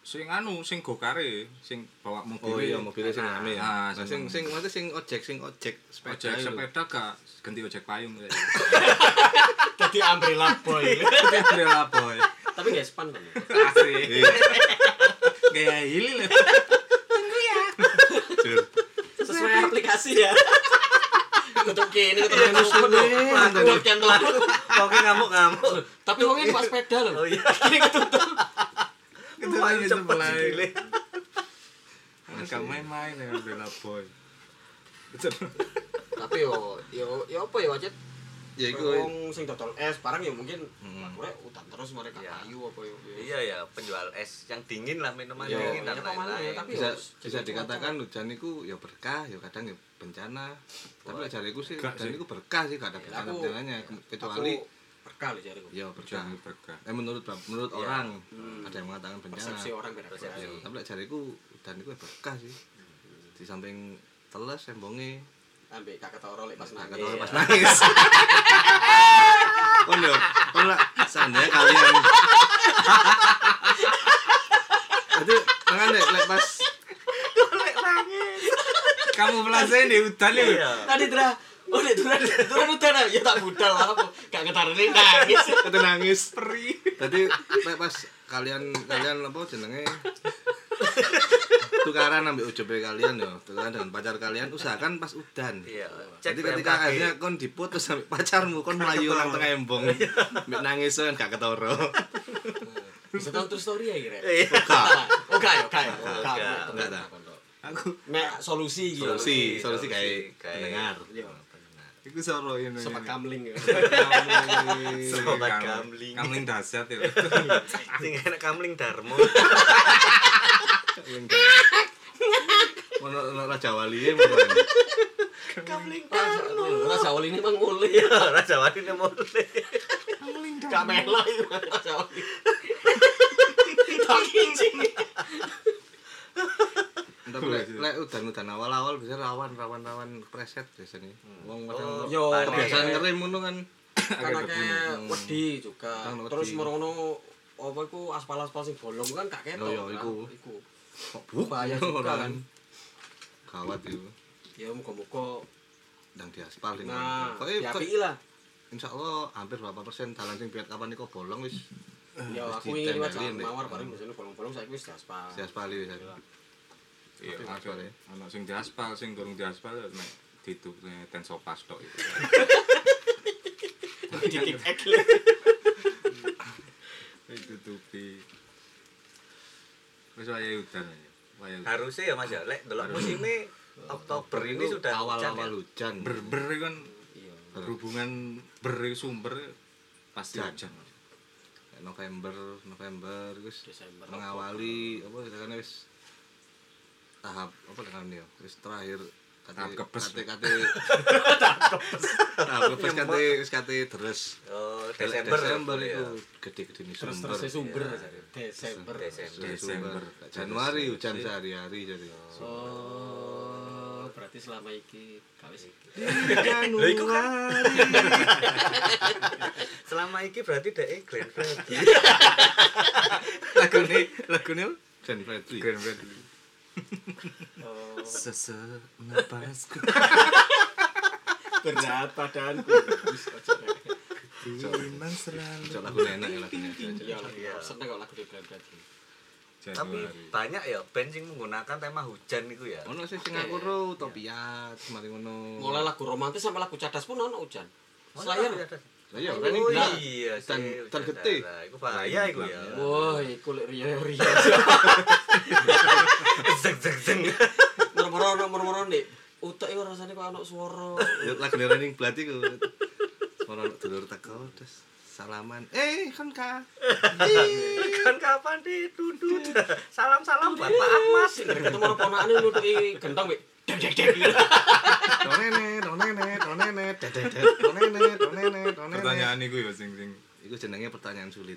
[SPEAKER 5] sing anu sing gokare sing bawa mobil.
[SPEAKER 2] oh iya mobilnya sing rame ya
[SPEAKER 5] Ah,
[SPEAKER 2] nah sing sing maksudnya sing ojek sing ojek sepeda
[SPEAKER 5] Ojek
[SPEAKER 2] itu.
[SPEAKER 5] sepeda gak ganti ojek payung kayak.
[SPEAKER 1] Jadi umbrella boy.
[SPEAKER 5] Rela boy.
[SPEAKER 1] Tapi gak span kan.
[SPEAKER 5] Asik. Kayak hili lho.
[SPEAKER 1] Sesuai aplikasi ya. Kutuk kini, kutuk kini, kutuk
[SPEAKER 2] seneng.
[SPEAKER 1] kini, kutuk kini.
[SPEAKER 4] Pokoke ngamuk-ngamuk.
[SPEAKER 1] Tapi wongnya numpak sepeda lho.
[SPEAKER 4] Oh iya.
[SPEAKER 1] Kini ketutup.
[SPEAKER 5] Ketutupan
[SPEAKER 4] Wah,
[SPEAKER 5] cepet
[SPEAKER 4] cepet
[SPEAKER 5] dile.
[SPEAKER 4] dile.
[SPEAKER 5] Gak main-main ya rela boy.
[SPEAKER 1] Tapi yo yo yo apa ya wajib
[SPEAKER 2] ya iku
[SPEAKER 1] Wong sing dodol es parang ya mungkin makure utan terus mereka
[SPEAKER 4] Iya.
[SPEAKER 1] kayu apa yo.
[SPEAKER 4] Iya ya, penjual es yang dingin lah, minuman
[SPEAKER 2] Iya.
[SPEAKER 4] dingin dan
[SPEAKER 1] Iya, pemain,
[SPEAKER 4] lain-lain.
[SPEAKER 1] tapi-
[SPEAKER 2] bisa
[SPEAKER 1] Iya,
[SPEAKER 2] bisa
[SPEAKER 1] jadi
[SPEAKER 2] dikatakan hujan itu ya berkah ya kadang ya bencana tapi
[SPEAKER 4] Wah.
[SPEAKER 2] lek jariku sih
[SPEAKER 5] Gak
[SPEAKER 2] hujan
[SPEAKER 5] sih.
[SPEAKER 2] itu berkah sih gak ada
[SPEAKER 1] Ya,
[SPEAKER 2] bencana
[SPEAKER 1] aku-
[SPEAKER 2] bencananya kecuali
[SPEAKER 1] berkali jari gue.
[SPEAKER 2] ya berkah
[SPEAKER 5] Jangan berkah.
[SPEAKER 2] eh menurut menurut
[SPEAKER 4] Iya.
[SPEAKER 2] orang ada yang mengatakan bencana
[SPEAKER 1] Persepsi orang beda.
[SPEAKER 2] Ya,
[SPEAKER 4] Persepsi.
[SPEAKER 2] tapi lek jariku hujan itu ya berkah sih di samping teles sembonge
[SPEAKER 1] Ambek kakak toro lek pas
[SPEAKER 2] Nah,
[SPEAKER 1] nangis.
[SPEAKER 2] kata
[SPEAKER 1] Iya.
[SPEAKER 2] orang pas nangis. Oh, Kon lho, kon lho, seandainya kalian. Jadi, tangan deh, lek pas
[SPEAKER 5] Kamu belasain di hutan ya.
[SPEAKER 4] Iya.
[SPEAKER 1] Tadi Dra, oh Dek Dra, Dra udah nah, ya tak budal lah apa. Gak ketarane nangis.
[SPEAKER 2] kata nangis. Peri. Jadi, lek pas kalian kalian apa jenenge? tukaran ambil UJB kalian yo, tukaran dengan pacar kalian usahakan pas udan.
[SPEAKER 4] Iya. Cek
[SPEAKER 2] Jadi ketika
[SPEAKER 4] BMKG.
[SPEAKER 2] akhirnya kon diputus sampai pacarmu kon melayu nang tengah embong,
[SPEAKER 4] Iya.
[SPEAKER 2] mbek nangis kan gak ketoro.
[SPEAKER 1] Bisa tahu terus story ya kira.
[SPEAKER 4] Iya.
[SPEAKER 1] Oh gak yo, gak yo.
[SPEAKER 4] Gak,
[SPEAKER 2] gak ada.
[SPEAKER 5] Aku
[SPEAKER 1] Mek solusi gitu.
[SPEAKER 2] Solusi. solusi kayak
[SPEAKER 4] kayak
[SPEAKER 2] pendengar.
[SPEAKER 1] Iya.
[SPEAKER 5] iku soro ini.
[SPEAKER 1] Sempat kamling ya.
[SPEAKER 4] Sobat kamling.
[SPEAKER 5] Kamling dahsyat ya.
[SPEAKER 4] Sing enak kamling Darmo.
[SPEAKER 2] Ono ono raja wali ya.
[SPEAKER 4] Kamling
[SPEAKER 2] Anu.
[SPEAKER 1] Ora sawel ini ya, mang nguli.
[SPEAKER 4] Iya, Raja Wali ini mulai.
[SPEAKER 1] Gak melo itu Ora sawel. Tak kincing.
[SPEAKER 2] Tapi lek lek udan-udan awal-awal biasanya rawan rawan rawan preset biasanya. Wong
[SPEAKER 4] Oh,
[SPEAKER 2] macam
[SPEAKER 1] Yo,
[SPEAKER 4] panik.
[SPEAKER 2] kebiasaan ngerim ngono kan.
[SPEAKER 1] Kan akeh
[SPEAKER 2] hmm.
[SPEAKER 1] wedi juga.
[SPEAKER 2] Kan wedi.
[SPEAKER 1] Terus merono apa iku
[SPEAKER 2] Oh,
[SPEAKER 1] aspal-aspal sing bolong kan gak ketok.
[SPEAKER 2] Loh, ya,
[SPEAKER 1] kan?
[SPEAKER 2] iku.
[SPEAKER 1] Iku.
[SPEAKER 2] Kok iya, buk
[SPEAKER 1] Bahaya juga kan.
[SPEAKER 2] gawat itu
[SPEAKER 1] ya muka-muka
[SPEAKER 2] ndang diaspal ini.
[SPEAKER 1] nah
[SPEAKER 2] Kok kok
[SPEAKER 1] diapi lah
[SPEAKER 2] insya Allah hampir berapa persen dalan sing biar kapan iku bolong wis
[SPEAKER 1] ya
[SPEAKER 2] Wis
[SPEAKER 1] aku ingin lewat
[SPEAKER 2] ditempelin, Dek.
[SPEAKER 1] mawar bareng biasanya bolong-bolong saya wis diaspal
[SPEAKER 2] diaspali wis. Tapi
[SPEAKER 5] Iya, ada
[SPEAKER 2] aspal ya.
[SPEAKER 5] anak sing diaspal, sing durung diaspal ya nek ditutupne tensopas tok itu.
[SPEAKER 1] di kick egg
[SPEAKER 5] Ditutupi. Wis wayahe udan aja. Wayahe udan.
[SPEAKER 4] Harusnya ya Mas ya, lek delok musimnya Oktober ini
[SPEAKER 2] Itu
[SPEAKER 4] sudah hujan ya.
[SPEAKER 2] awal-awal hujan.
[SPEAKER 5] Ber-ber itu kan
[SPEAKER 1] iya
[SPEAKER 5] berhubungan ber itu sumber ya, pasti
[SPEAKER 2] Hujan.
[SPEAKER 5] hujan.
[SPEAKER 2] November, November wis
[SPEAKER 1] Desember,
[SPEAKER 2] mengawali apa karena wis tahap apa dengan dia wis terakhir kate
[SPEAKER 5] Tahap kepes. Iya,
[SPEAKER 2] kate kate tahap kepes kate wis kate deres
[SPEAKER 4] Oh, Desember.
[SPEAKER 2] Desember
[SPEAKER 4] ya.
[SPEAKER 2] itu gede-gede nih
[SPEAKER 1] Iya. terus
[SPEAKER 2] sumber
[SPEAKER 1] terus sumber Iya. Desember
[SPEAKER 4] Desember.
[SPEAKER 2] Terus
[SPEAKER 5] Desember.
[SPEAKER 2] sumber. Januari hujan sehari-hari jadi
[SPEAKER 1] oh berarti selama iki kawis iki
[SPEAKER 4] Lho, iku kan. Selama ini berarti dek Glenn Fredly.
[SPEAKER 2] lagune lagune Glenn Fredly
[SPEAKER 5] Grand Fredly.
[SPEAKER 1] oh
[SPEAKER 5] Sese napasku.
[SPEAKER 1] berat padanku Wis, ojo rek.
[SPEAKER 5] Memang selalu.
[SPEAKER 2] Cok lagu enak ya lagunya
[SPEAKER 1] iya lah seneng kok lagu di Glenn Fredly
[SPEAKER 4] Tapi
[SPEAKER 5] Januari.
[SPEAKER 4] banyak ya band sing menggunakan tema hujan itu ya.
[SPEAKER 2] Ono sih Singapura utopia mari ngono.
[SPEAKER 1] mulai lagu romantis sama lagu cadas pun ono hujan
[SPEAKER 4] Slayer.
[SPEAKER 1] Slayer
[SPEAKER 2] Lah iya kan
[SPEAKER 4] Oh
[SPEAKER 2] ini
[SPEAKER 4] iya,
[SPEAKER 2] dan
[SPEAKER 4] sih,
[SPEAKER 2] dan
[SPEAKER 4] hujan
[SPEAKER 2] gede.
[SPEAKER 4] darah. Iku bahaya iku ya.
[SPEAKER 1] wah iku lek riyo riyo
[SPEAKER 4] Zeng zeng zeng.
[SPEAKER 1] mermoro ono mermoro nih utek iku rasane kok ono swara
[SPEAKER 2] Ya lagu Running Blood iku. Ono dulur teko terus salaman. Eh, kan ka.
[SPEAKER 4] Kan kapan ditundut? Salam-salam buat Pak Ahmad.
[SPEAKER 1] sing ketemu karo ponakane nutuki gentong wek dek dek dek
[SPEAKER 2] Tonene, tonene, tonene, dedet, tonene, tonene, tonene.
[SPEAKER 5] Pertanyaan iku ya sing sing
[SPEAKER 2] Iku jenenge pertanyaan sulit.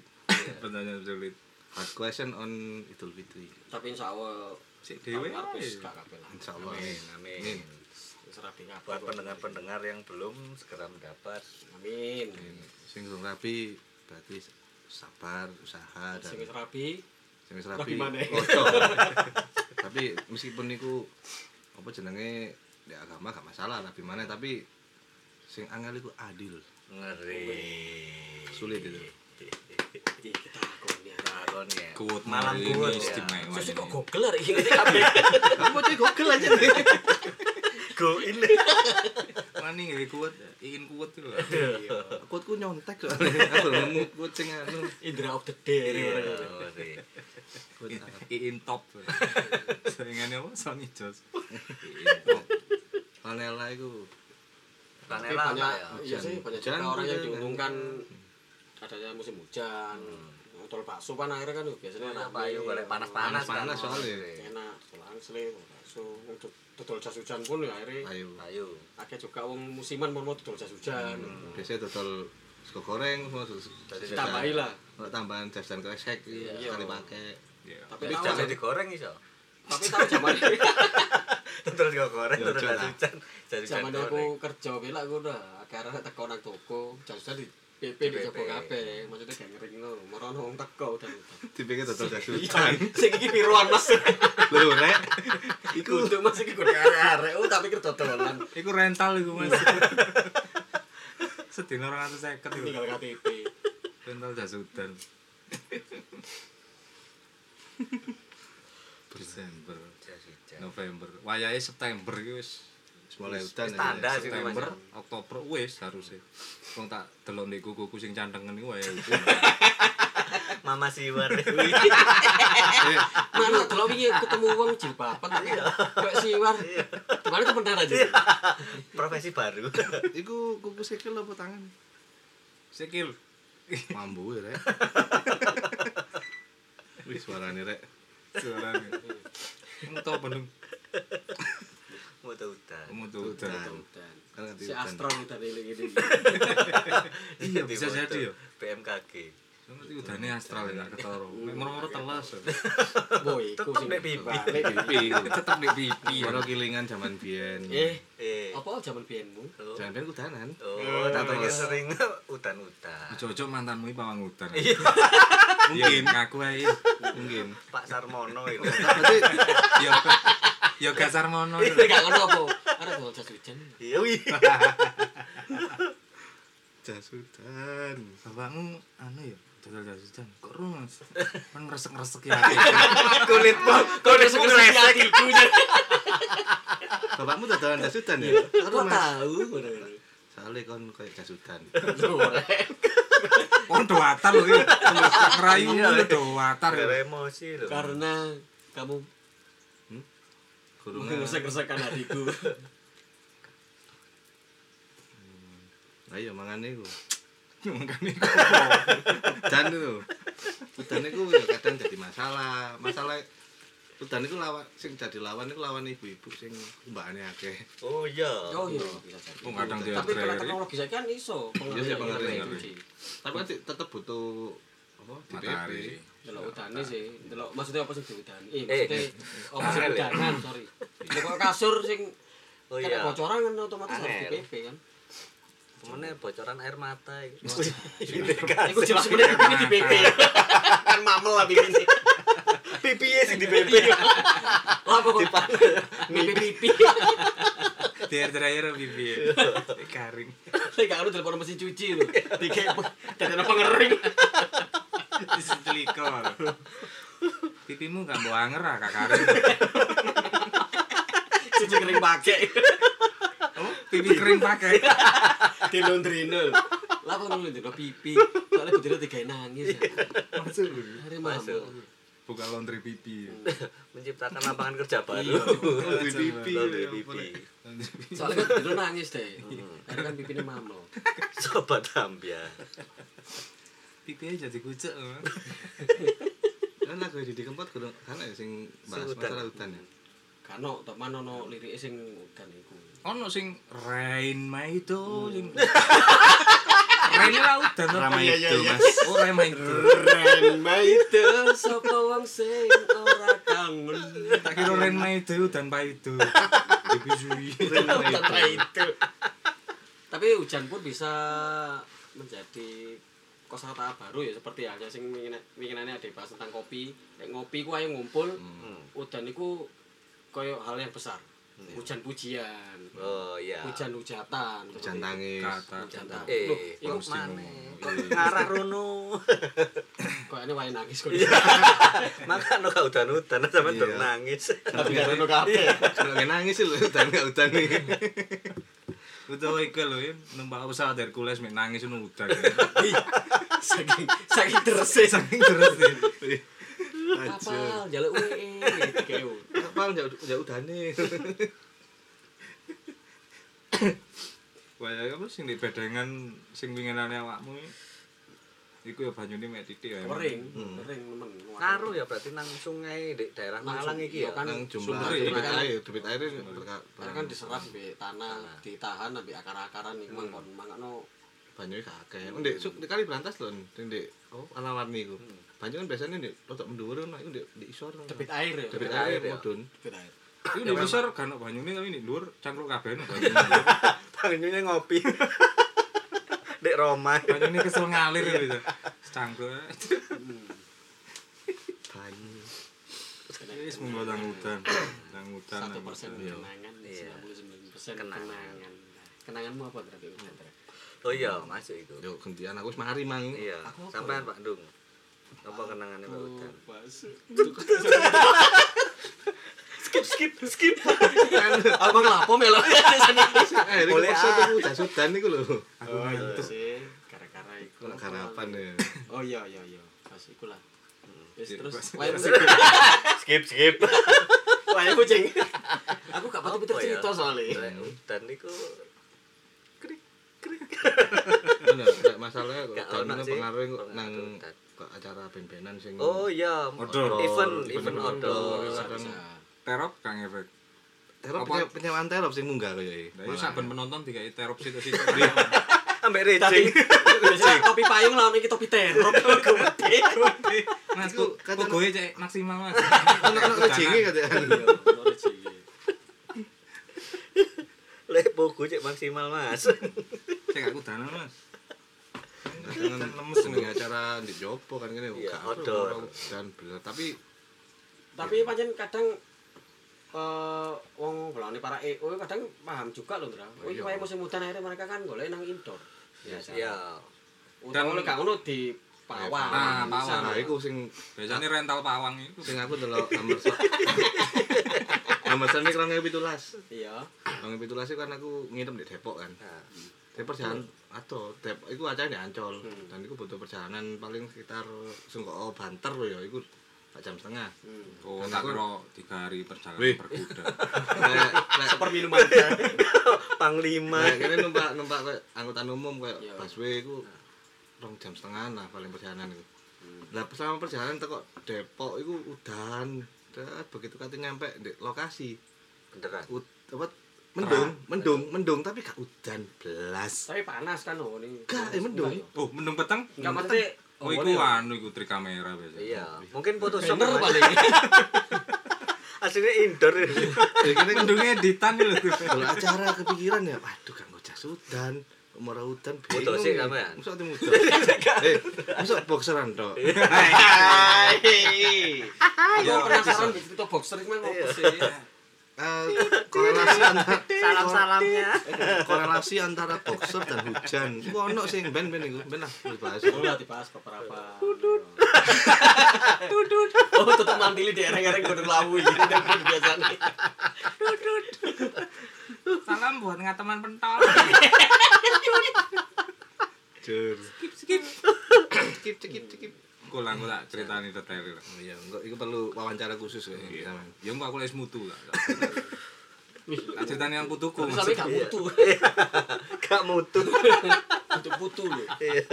[SPEAKER 5] pertanyaan sulit.
[SPEAKER 2] Hard question on Idul Fitri.
[SPEAKER 1] tapi insyaallah
[SPEAKER 5] Sik
[SPEAKER 1] Tahun
[SPEAKER 5] dhewe.
[SPEAKER 1] arep
[SPEAKER 5] ae.
[SPEAKER 1] wis gak kabeh lah.
[SPEAKER 2] Insyaallah.
[SPEAKER 4] Amin, amin.
[SPEAKER 1] Wis rapi kabeh.
[SPEAKER 4] Buat pendengar-pendengar yang belum segera mendapat.
[SPEAKER 1] Amin.
[SPEAKER 2] Sing durung rapi berarti sabar, usaha
[SPEAKER 1] Sing
[SPEAKER 2] dan
[SPEAKER 1] wis rapi,
[SPEAKER 2] sing wis rapi.
[SPEAKER 1] Rapi maneh.
[SPEAKER 2] Kocok. Tapi meskipun niku apa jenenge di agama gak masalah rapi maneh tapi sing angel iku adil.
[SPEAKER 4] Ngeri.
[SPEAKER 2] Sulit gitu. itu.
[SPEAKER 1] iki kita lakoni.
[SPEAKER 4] Takon ya.
[SPEAKER 5] Kuat
[SPEAKER 4] Malam kuat ya.
[SPEAKER 5] istimewa.
[SPEAKER 1] Sesuk kok
[SPEAKER 5] ini.
[SPEAKER 1] Google arek iki ngerti kabeh.
[SPEAKER 2] Kamu cek Google aja nih.
[SPEAKER 4] Go in.
[SPEAKER 5] Wani gawe kuat, ingin kuat itu lho.
[SPEAKER 1] Iya.
[SPEAKER 2] Kuatku nyontek soalnya. Aku nemu kuat sing anu.
[SPEAKER 1] Indra of the day.
[SPEAKER 4] Iya, Ngeri.
[SPEAKER 2] Kuat apa?
[SPEAKER 5] Iin top. Seringannya apa? Sony Jos.
[SPEAKER 2] Vanilla iku.
[SPEAKER 1] Tapi
[SPEAKER 4] Panela
[SPEAKER 1] banyak iya
[SPEAKER 4] ya.
[SPEAKER 1] sih
[SPEAKER 2] Hujan.
[SPEAKER 1] banyak
[SPEAKER 2] Hujan
[SPEAKER 1] juga orang yang
[SPEAKER 2] juga.
[SPEAKER 1] diuntungkan adanya musim hujan. Tol bakso kan akhirnya kan biasanya enak
[SPEAKER 4] Apa ayo golek panas-panas
[SPEAKER 2] Panas-panas
[SPEAKER 4] kan.
[SPEAKER 2] soalnya.
[SPEAKER 1] Enak, tol angsle, tol bakso, dodol jas hujan pun ya akhirnya
[SPEAKER 2] Ayo.
[SPEAKER 4] Ayo.
[SPEAKER 1] akeh juga wong musiman mau dodol jas hujan.
[SPEAKER 2] Biasanya total sego goreng semua terus
[SPEAKER 1] Tambahi lah.
[SPEAKER 2] Kalau tambahan jas dan kresek gitu,
[SPEAKER 1] Iya.
[SPEAKER 2] sekali pakai.
[SPEAKER 5] Iya.
[SPEAKER 1] Tapi
[SPEAKER 4] Tapi
[SPEAKER 1] tahu
[SPEAKER 4] jangan digoreng iso.
[SPEAKER 1] tapi tahu zaman
[SPEAKER 4] Terus digoreng
[SPEAKER 2] Ya,
[SPEAKER 4] terus
[SPEAKER 2] hujan lah.
[SPEAKER 4] hujan. Jadi
[SPEAKER 1] zaman
[SPEAKER 4] goreng.
[SPEAKER 1] aku kerja belak aku udah akhirnya teko nang toko jasa di PP di
[SPEAKER 4] Di
[SPEAKER 1] toko
[SPEAKER 4] PP.
[SPEAKER 1] kabeh maksudnya gak ngering lo merono wong teko dan
[SPEAKER 2] Dipikir total jas
[SPEAKER 1] Iya,
[SPEAKER 2] hujan.
[SPEAKER 1] sing iki piruan mas
[SPEAKER 2] Lho rek.
[SPEAKER 1] iku untuk mas iki kudu arek-arek oh tak pikir dodolan
[SPEAKER 5] Iku rental iku Mas. Sedina 250 iku.
[SPEAKER 1] tinggal KTP
[SPEAKER 5] Rental jasudan. Desember,
[SPEAKER 4] Jas hujan.
[SPEAKER 5] November. Wayahe September iki wis
[SPEAKER 2] Mulai hutan.
[SPEAKER 4] Standar sih itu, Mas.
[SPEAKER 5] September, Oktober wis harusnya. Wong tak delok ndek kuku sing cantengen iku wayahe hujan.
[SPEAKER 4] Eh, Mama Siwar.
[SPEAKER 1] mana kalau wingi ketemu wong jilbaban tak
[SPEAKER 4] Iya.
[SPEAKER 1] kok siwar kemarin ke pendara aja
[SPEAKER 4] Profesi baru.
[SPEAKER 2] Iku kuku sikil apa tangan?
[SPEAKER 5] Sikil.
[SPEAKER 2] Mambu ya, Rek. Wih, suarane Rek.
[SPEAKER 5] Suarane. Entuk bendung.
[SPEAKER 4] Mau hutan.
[SPEAKER 5] Mutu udan.
[SPEAKER 2] Kan ngerti
[SPEAKER 1] si
[SPEAKER 2] hutan.
[SPEAKER 1] Astron kita ini gini
[SPEAKER 5] Iya,
[SPEAKER 4] Di
[SPEAKER 5] bisa
[SPEAKER 4] foto
[SPEAKER 5] jadi ya.
[SPEAKER 4] BMKG.
[SPEAKER 5] Cuma itu udane astral ya, gak ketoro. Nek moro-moro telas. ya.
[SPEAKER 1] boy iku
[SPEAKER 4] Tetep
[SPEAKER 1] sing
[SPEAKER 4] nek pipi.
[SPEAKER 1] balik.
[SPEAKER 2] Pipi.
[SPEAKER 5] Tetep ndek pipi. ya.
[SPEAKER 2] Baru kilingan zaman biyen.
[SPEAKER 1] Iya. eh
[SPEAKER 4] Eh.
[SPEAKER 1] apa zaman biyenmu
[SPEAKER 4] Oh,
[SPEAKER 2] Zaman biyen kudanan.
[SPEAKER 4] Oh,
[SPEAKER 2] Nah,
[SPEAKER 4] tapi
[SPEAKER 2] terus.
[SPEAKER 4] sering udan-udan.
[SPEAKER 5] Ojo-ojo mantanmu iki pawang udan.
[SPEAKER 4] Iya,
[SPEAKER 5] Mungkin ngaku ae.
[SPEAKER 2] Mungkin.
[SPEAKER 4] Pak Sarmono itu.
[SPEAKER 2] Berarti
[SPEAKER 5] Iya. Ya gasar mono.
[SPEAKER 1] Ini gak ngono apa? Ada bawa jas hujan.
[SPEAKER 4] Iya wi.
[SPEAKER 2] jas hujan
[SPEAKER 5] Bapakmu anu ya, dodol jasudan. Kok ru Mas? Kan ngresek-ngresek ya.
[SPEAKER 4] Kulitmu kulitmu resek.
[SPEAKER 2] bapakmu dodolan jas hujan ya
[SPEAKER 1] Aku tahu.
[SPEAKER 2] soalnya kon kayak jas hujan
[SPEAKER 5] Wong do atar lho iki. Ngerayu lho do atar.
[SPEAKER 4] Ada emosi lho.
[SPEAKER 1] Karena kamu
[SPEAKER 2] kurung
[SPEAKER 1] mengresek-resekan hatiku.
[SPEAKER 2] ayo mangan iku
[SPEAKER 5] Makane
[SPEAKER 2] hujan itu hujan itu ya kadang jadi masalah masalah hujan itu lawan sing jadi lawan itu lawan ibu-ibu sing mbakane akeh
[SPEAKER 4] Oh iya.
[SPEAKER 1] Oh iya, bisa jadi.
[SPEAKER 5] wong kadang dia
[SPEAKER 1] Tapi kalau
[SPEAKER 5] treri.
[SPEAKER 1] teknologi saya kan iso. gitu,
[SPEAKER 2] Iya sih, pengaruh,
[SPEAKER 1] Pengaruh.
[SPEAKER 2] pengaruh. tapi kan di- tetep butuh apa
[SPEAKER 5] Matahari.
[SPEAKER 2] DPP
[SPEAKER 1] Delok utane sih. Delok maksudnya apa sih diudani? Eh,
[SPEAKER 4] Eh,
[SPEAKER 1] maksudnya apa sih
[SPEAKER 4] angel ya?
[SPEAKER 1] udanan, sorry. Delok kasur sing
[SPEAKER 4] Oh
[SPEAKER 1] kena
[SPEAKER 4] iya.
[SPEAKER 1] bocoran kan otomatis harus
[SPEAKER 4] Angel.
[SPEAKER 1] DPP kan.
[SPEAKER 4] Mene bocoran air mata iki. Ini kan.
[SPEAKER 1] Iku jelas bener ini DPP.
[SPEAKER 4] kan mamel lah pipinya. Pipinya sih di pipi.
[SPEAKER 1] Lah apa kok pipi-pipi.
[SPEAKER 5] Dia treri bibi. Karing.
[SPEAKER 1] Saya gak ngerti telepon mesin cuci lho. Tiga dadane pengering.
[SPEAKER 5] Diseteliko. Pipimu gak mbok anger ah Kak Karing.
[SPEAKER 1] Cuci kering pakai.
[SPEAKER 5] Oh, pipi kering pakai.
[SPEAKER 1] di laundryne. Lah kok nunggu dino pipi. Soalnya bujurnya tiga nangis. ya.
[SPEAKER 5] Masuk.
[SPEAKER 1] Hari masuk.
[SPEAKER 5] Buka laundry pipi.
[SPEAKER 4] Menciptakan lapangan kerja baru.
[SPEAKER 1] Iya.
[SPEAKER 5] Laundry pipi.
[SPEAKER 4] Laundry pipi.
[SPEAKER 1] Soalnya kan dino nangis deh. Karena kan pipinya mamel.
[SPEAKER 4] Sobat Ambia.
[SPEAKER 5] Pipi aja jadi kucek. Mas.
[SPEAKER 2] kan lagu di kempot kurang kan ya sing bahas
[SPEAKER 4] Sing hutan.
[SPEAKER 2] masalah hutan ya
[SPEAKER 1] Kano teman ono lirike sing udan iku.
[SPEAKER 5] ono sing rain maido sing rain laut dan
[SPEAKER 3] Ramai itu, Mas.
[SPEAKER 5] oh rain maido
[SPEAKER 3] Keren baik.
[SPEAKER 1] Del sapa wong sing ora kangen.
[SPEAKER 5] tak kira rain maido dan paido ibu suwi
[SPEAKER 1] Tanpa itu. Tapi hujan pun bisa menjadi kosakata baru ya seperti halnya sing wingine- winginane ada bahas tentang kopi. Nek ngopi ku ayo ngumpul,
[SPEAKER 2] Hmm.
[SPEAKER 1] udan iku koyo hal yang besar. Hujan pujian,
[SPEAKER 4] Oh iya.
[SPEAKER 1] hujan hujatan,
[SPEAKER 2] ya. hujan tangis
[SPEAKER 5] kata
[SPEAKER 1] hujatan.
[SPEAKER 4] Eh,
[SPEAKER 1] Loh, iku
[SPEAKER 4] kok mana? Kok
[SPEAKER 2] Iya.
[SPEAKER 4] ngarah rono.
[SPEAKER 1] koyone wae nangis kok.
[SPEAKER 4] Maka no kau udan udan
[SPEAKER 2] Iya.
[SPEAKER 4] sampe durung nangis.
[SPEAKER 1] Tapi gak ono kabeh.
[SPEAKER 2] kalau nggak nangis sih lho hutan nggak hutan nih
[SPEAKER 5] utawa iku lho ya, numpak pesawat Hercules mek nangis ya. nang udan
[SPEAKER 1] Saking saking terese.
[SPEAKER 5] saking terus ya.
[SPEAKER 1] kapal jaluk WE gitu.
[SPEAKER 2] kapal nggak nggak hutan nih
[SPEAKER 5] waya ya, apa sing di bedengan sing winginane awakmu ya. iku ya banyune mek titik ya
[SPEAKER 2] Hmm.
[SPEAKER 1] kering kering temen
[SPEAKER 4] Ngaruh ya berarti nang sungai di daerah
[SPEAKER 1] Nang
[SPEAKER 4] Malang
[SPEAKER 1] sungai,
[SPEAKER 4] iki ya.
[SPEAKER 1] iya kan.
[SPEAKER 2] nang jumlah
[SPEAKER 1] Sumber
[SPEAKER 2] debit
[SPEAKER 1] air.
[SPEAKER 2] Anu, air debit air ini berka-
[SPEAKER 1] karena kan diserap di tanah ditahan nabi akar-akaran iku mangkon mangano
[SPEAKER 2] banyu gak akeh. Oh, Ndek suk ndek kali berantas lho, ndek ndek oh ana warni iku. Banyu kan biasanya ndek rodok mendhuwur ngono iku ndek ndek isor. ngono.
[SPEAKER 1] debit air ya
[SPEAKER 2] Debit
[SPEAKER 4] air
[SPEAKER 2] air
[SPEAKER 4] ya.
[SPEAKER 2] mudun.
[SPEAKER 1] debit air
[SPEAKER 5] iku di besar kan banyune tapi ini dhuwur cangkruk kabeh no banyune.
[SPEAKER 4] Banyunya ngopi. Dek Roma.
[SPEAKER 5] banyune kesel ngalir gitu cangkruk
[SPEAKER 2] Banyu.
[SPEAKER 5] Wis mung nang udan. Nang udan.
[SPEAKER 1] satu
[SPEAKER 5] nang
[SPEAKER 1] persen iya.
[SPEAKER 5] udan.
[SPEAKER 1] kenangan sembilan puluh sembilan persen
[SPEAKER 4] Kenangan.
[SPEAKER 1] kenangan Hmm. kenanganmu apa berarti Chandra?
[SPEAKER 4] Oh iya, masuk itu.
[SPEAKER 2] Yo gantian aku wis mari mang.
[SPEAKER 4] Iya,
[SPEAKER 1] Aku Oh. apa
[SPEAKER 4] sampean Pak Dung. Apa kenangannya Pak Udan?
[SPEAKER 1] Masuk.
[SPEAKER 4] Skip skip skip.
[SPEAKER 1] Abang lapo melo.
[SPEAKER 2] Eh, iki
[SPEAKER 4] Oleh,
[SPEAKER 2] maksud
[SPEAKER 4] ah.
[SPEAKER 2] aku jas udan iku lho.
[SPEAKER 5] Aku ngantuk.
[SPEAKER 1] sih gara-gara iku
[SPEAKER 2] Kok garapan ya.
[SPEAKER 1] oh iya iya iya pas iku lah Wis,
[SPEAKER 5] Iya,
[SPEAKER 1] terus
[SPEAKER 5] pas-
[SPEAKER 1] wae
[SPEAKER 4] Skip skip.
[SPEAKER 1] wae kucing aku gak pati
[SPEAKER 4] Apa ya?
[SPEAKER 1] cerita soalnya
[SPEAKER 4] Lek udan niku
[SPEAKER 2] Ngono, lek masalahnya kok
[SPEAKER 4] Gak
[SPEAKER 2] banyu
[SPEAKER 4] ono sih.
[SPEAKER 2] pengaruh kok nang
[SPEAKER 4] Pengaruh udan.
[SPEAKER 2] ke acara ben-benan sing
[SPEAKER 4] Oh iya,
[SPEAKER 5] Outdoor.
[SPEAKER 4] Event
[SPEAKER 2] Event
[SPEAKER 4] event
[SPEAKER 2] outdoor.
[SPEAKER 4] outdoor.
[SPEAKER 2] kadang-
[SPEAKER 5] Terop Kang Efek.
[SPEAKER 2] terop
[SPEAKER 5] apa?
[SPEAKER 2] penye- penyewaan terop sing munggah ya, iya. koyo iki.
[SPEAKER 5] Lah iya, iki saben penonton dikai terop situ-situ.
[SPEAKER 4] Ambek
[SPEAKER 1] tapi
[SPEAKER 4] rejing.
[SPEAKER 1] biasanya topi payung lawan iki topi terop gede
[SPEAKER 5] Mas
[SPEAKER 2] Iku
[SPEAKER 5] kok
[SPEAKER 2] kadang-
[SPEAKER 5] gue cek maksimal Mas. Kan
[SPEAKER 2] Ono rejenge katean.
[SPEAKER 4] Lek bogo cek maksimal, Mas.
[SPEAKER 5] Cek aku danan Mas. Jangan lemes
[SPEAKER 2] Seneng acara di Jopo kan kene
[SPEAKER 4] Iya,
[SPEAKER 2] gak ada
[SPEAKER 4] outdoor.
[SPEAKER 2] orang dan bener tapi
[SPEAKER 1] tapi pancen kadang eh, wong belane para EO kadang paham juga lho, Ndra. Oh,
[SPEAKER 2] iya.
[SPEAKER 1] iya musim udan akhirnya mereka kan golek nang indoor. Biasa.
[SPEAKER 4] Iya.
[SPEAKER 1] Utawa lek gak ngono di pawang.
[SPEAKER 5] Nah, pawang.
[SPEAKER 2] Nah, iku sing
[SPEAKER 5] Biasanya rental pawang itu.
[SPEAKER 2] sing aku delok Amberson. Amberson iki 2017.
[SPEAKER 1] Iya.
[SPEAKER 2] 2017 itu kan aku nginep di Depok kan.
[SPEAKER 4] Nah,
[SPEAKER 2] Saya perjalanan atau Depok iku acara di Ancol. Dan iku butuh perjalanan paling sekitar sungko banter lho ya iku sak jam setengah.
[SPEAKER 5] Oh, tak kira tiga hari perjalanan
[SPEAKER 2] Wih.
[SPEAKER 5] berkuda.
[SPEAKER 2] Kayak kayak-
[SPEAKER 1] Perminuman.
[SPEAKER 4] Panglima.
[SPEAKER 2] Nah, kene numpak numpak kayak angkutan umum kayak
[SPEAKER 1] Iya.
[SPEAKER 2] busway iku rong jam setengah lah paling perjalanan iku. Lah selama perjalanan teko Depok iku udan. Dah, begitu kate nyampe di lokasi
[SPEAKER 4] Beneran.
[SPEAKER 2] ud, apa mendung, mendung, mendung tapi gak udan belas.
[SPEAKER 1] Tapi panas kan oh ini.
[SPEAKER 2] Gak, eh, mendung.
[SPEAKER 1] Enggak,
[SPEAKER 5] Oh, mendung peteng?
[SPEAKER 1] ya. Enggak mesti
[SPEAKER 5] Oh, iku anu iku trik kamera biasa.
[SPEAKER 4] Iya, mungkin Photoshop
[SPEAKER 1] Bener
[SPEAKER 4] Mas.
[SPEAKER 1] paling.
[SPEAKER 4] Aslinya indoor.
[SPEAKER 2] Jadi kene kan
[SPEAKER 5] Mendungnya editan lho.
[SPEAKER 2] kalau acara kepikiran ya, waduh gak ngocah udan. Umur udan
[SPEAKER 4] Butuh
[SPEAKER 2] bingung.
[SPEAKER 4] sih,
[SPEAKER 2] ya.
[SPEAKER 4] sampean.
[SPEAKER 2] Masa timu udan. Eh, masa boxeran tok.
[SPEAKER 1] Aku penasaran di cerita boxer iki memang opo sih?
[SPEAKER 2] Eh, korelasi antara
[SPEAKER 4] Salam-salamnya.
[SPEAKER 2] korelasi antara boxer dan hujan. Iku ono sing ben-ben iku, ben lah dibahas.
[SPEAKER 1] Udah dibahas beberapa. Dudut. Oh, tutup mantili di ereng-ereng kudu lawu iki nang kudu biasane.
[SPEAKER 5] Salam buat ngateman pentol.
[SPEAKER 2] Jur.
[SPEAKER 4] Cekip cekip cekip.
[SPEAKER 5] Kulang aku tak ceritani detail lah.
[SPEAKER 2] Oh Iya, engko iku perlu wawancara khusus ya. sampean.
[SPEAKER 5] Ya mbak aku les mutu lah. Tak ceritani yang putuku.
[SPEAKER 1] Sampai gak
[SPEAKER 4] Iya.
[SPEAKER 1] mutu.
[SPEAKER 4] Gak mutu.
[SPEAKER 1] Untuk putu lho.
[SPEAKER 4] Iya.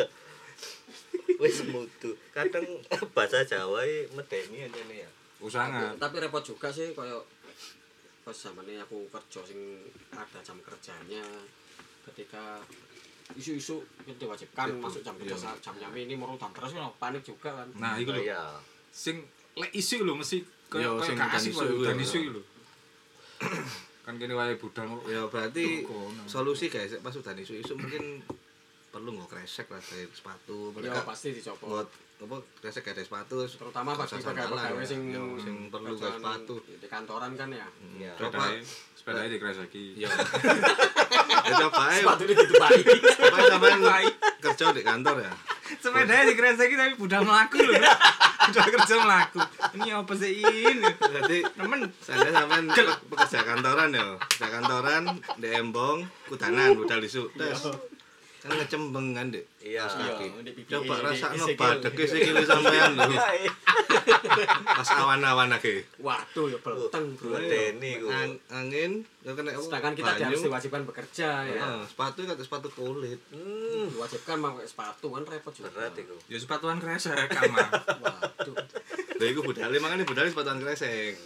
[SPEAKER 4] Wis mutu. Kadang bahasa Jawa iki medeni aja nih ya.
[SPEAKER 5] Usangan.
[SPEAKER 1] Tapi repot juga sih koyo pas zamane aku kerja sing ada jam kerjanya ketika isu-isu yang diwajibkan
[SPEAKER 2] Iya.
[SPEAKER 1] masuk jam kerja saat jam-jam ini merutan terus kan panik juga kan.
[SPEAKER 5] Nah, iku
[SPEAKER 4] Oh,
[SPEAKER 5] lho.
[SPEAKER 4] Iya.
[SPEAKER 5] Sing lek isu lho mesti
[SPEAKER 2] Iya,
[SPEAKER 5] kayak
[SPEAKER 2] sing
[SPEAKER 5] kayak
[SPEAKER 2] udan
[SPEAKER 5] kasih
[SPEAKER 2] isu iku
[SPEAKER 5] dan
[SPEAKER 2] ya.
[SPEAKER 5] isu lho. Kan kene wae budal kok.
[SPEAKER 2] Ya berarti
[SPEAKER 5] Dukono.
[SPEAKER 2] solusi guys, pas udan isu-isu mungkin perlu nggo kresek lah dari sepatu.
[SPEAKER 1] Ya
[SPEAKER 2] Mereka
[SPEAKER 1] pasti dicopot.
[SPEAKER 2] buat apa kresek gak ada sepatu terus
[SPEAKER 1] terutama
[SPEAKER 2] kaos
[SPEAKER 1] bagi
[SPEAKER 2] sandalan
[SPEAKER 1] pegawai-pegawai
[SPEAKER 2] ya.
[SPEAKER 1] sing
[SPEAKER 2] Yo, sing perlu gak
[SPEAKER 1] kerjaan
[SPEAKER 2] sepatu.
[SPEAKER 1] di kantoran kan ya
[SPEAKER 4] Iya.
[SPEAKER 2] Coba
[SPEAKER 5] Sepedanya, sepedanya dikreseki.
[SPEAKER 2] ya. Ya, Coba ae.
[SPEAKER 1] sepatu ini ditutupi
[SPEAKER 2] Coba ae sampean kerja di kantor ya.
[SPEAKER 5] sepedanya dikreseki tapi budal melaku lho. Budal kerja melaku. Ini apa sih ini?
[SPEAKER 2] Berarti
[SPEAKER 5] Temen
[SPEAKER 2] saya sampean pe- pekerja kantoran ya. Pekerja kantoran di embong kudanan budal isu.
[SPEAKER 1] Iya.
[SPEAKER 2] Terus kan ngecembeng kan, Dik.
[SPEAKER 4] Iya.
[SPEAKER 2] Coba rasakno badeke sikile sampean lho. Pas awan-awan lagi.
[SPEAKER 1] waduh ya belteng bro
[SPEAKER 4] Medeni ku.
[SPEAKER 2] Ang- angin ya kena apa,
[SPEAKER 1] sedangkan kita
[SPEAKER 2] banyu.
[SPEAKER 1] harus diwajibkan bekerja ya
[SPEAKER 2] Heeh, sepatu kata sepatu kulit
[SPEAKER 4] Hmm,
[SPEAKER 1] diwajibkan pakai sepatu kan repot juga
[SPEAKER 4] berat iku.
[SPEAKER 5] ya sepatuan kresek kamar.
[SPEAKER 1] waduh
[SPEAKER 2] lha iku budale makane budale sepatuan kresek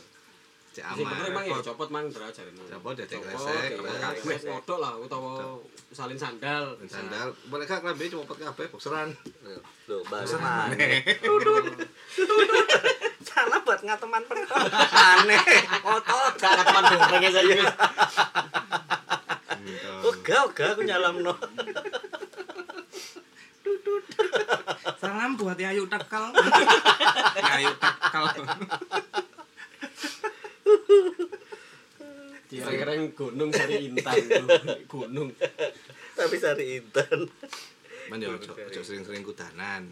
[SPEAKER 2] cek
[SPEAKER 1] sing bener emang
[SPEAKER 2] aman
[SPEAKER 1] ya dicopot mang dra jarene
[SPEAKER 2] Dicopot, dicek resek,
[SPEAKER 1] resek
[SPEAKER 2] terus.
[SPEAKER 1] kabeh ngodok lah utawa salin sandal
[SPEAKER 2] sandal mereka klambi cuma pot kabeh boxeran
[SPEAKER 4] Lho, baru aneh. Salah buat ngateman pertama. Aneh. Otot.
[SPEAKER 1] Nah, gak teman gorengnya saya ini
[SPEAKER 2] Gitu.
[SPEAKER 4] Oga oga aku nyalamno.
[SPEAKER 5] Salam buat Yayu Tekel. Yayu Tekel.
[SPEAKER 1] di ereng gunung sari intan gunung
[SPEAKER 4] Tapi sari intan.
[SPEAKER 2] Man yo ya ojo ojo sering-sering kudanan.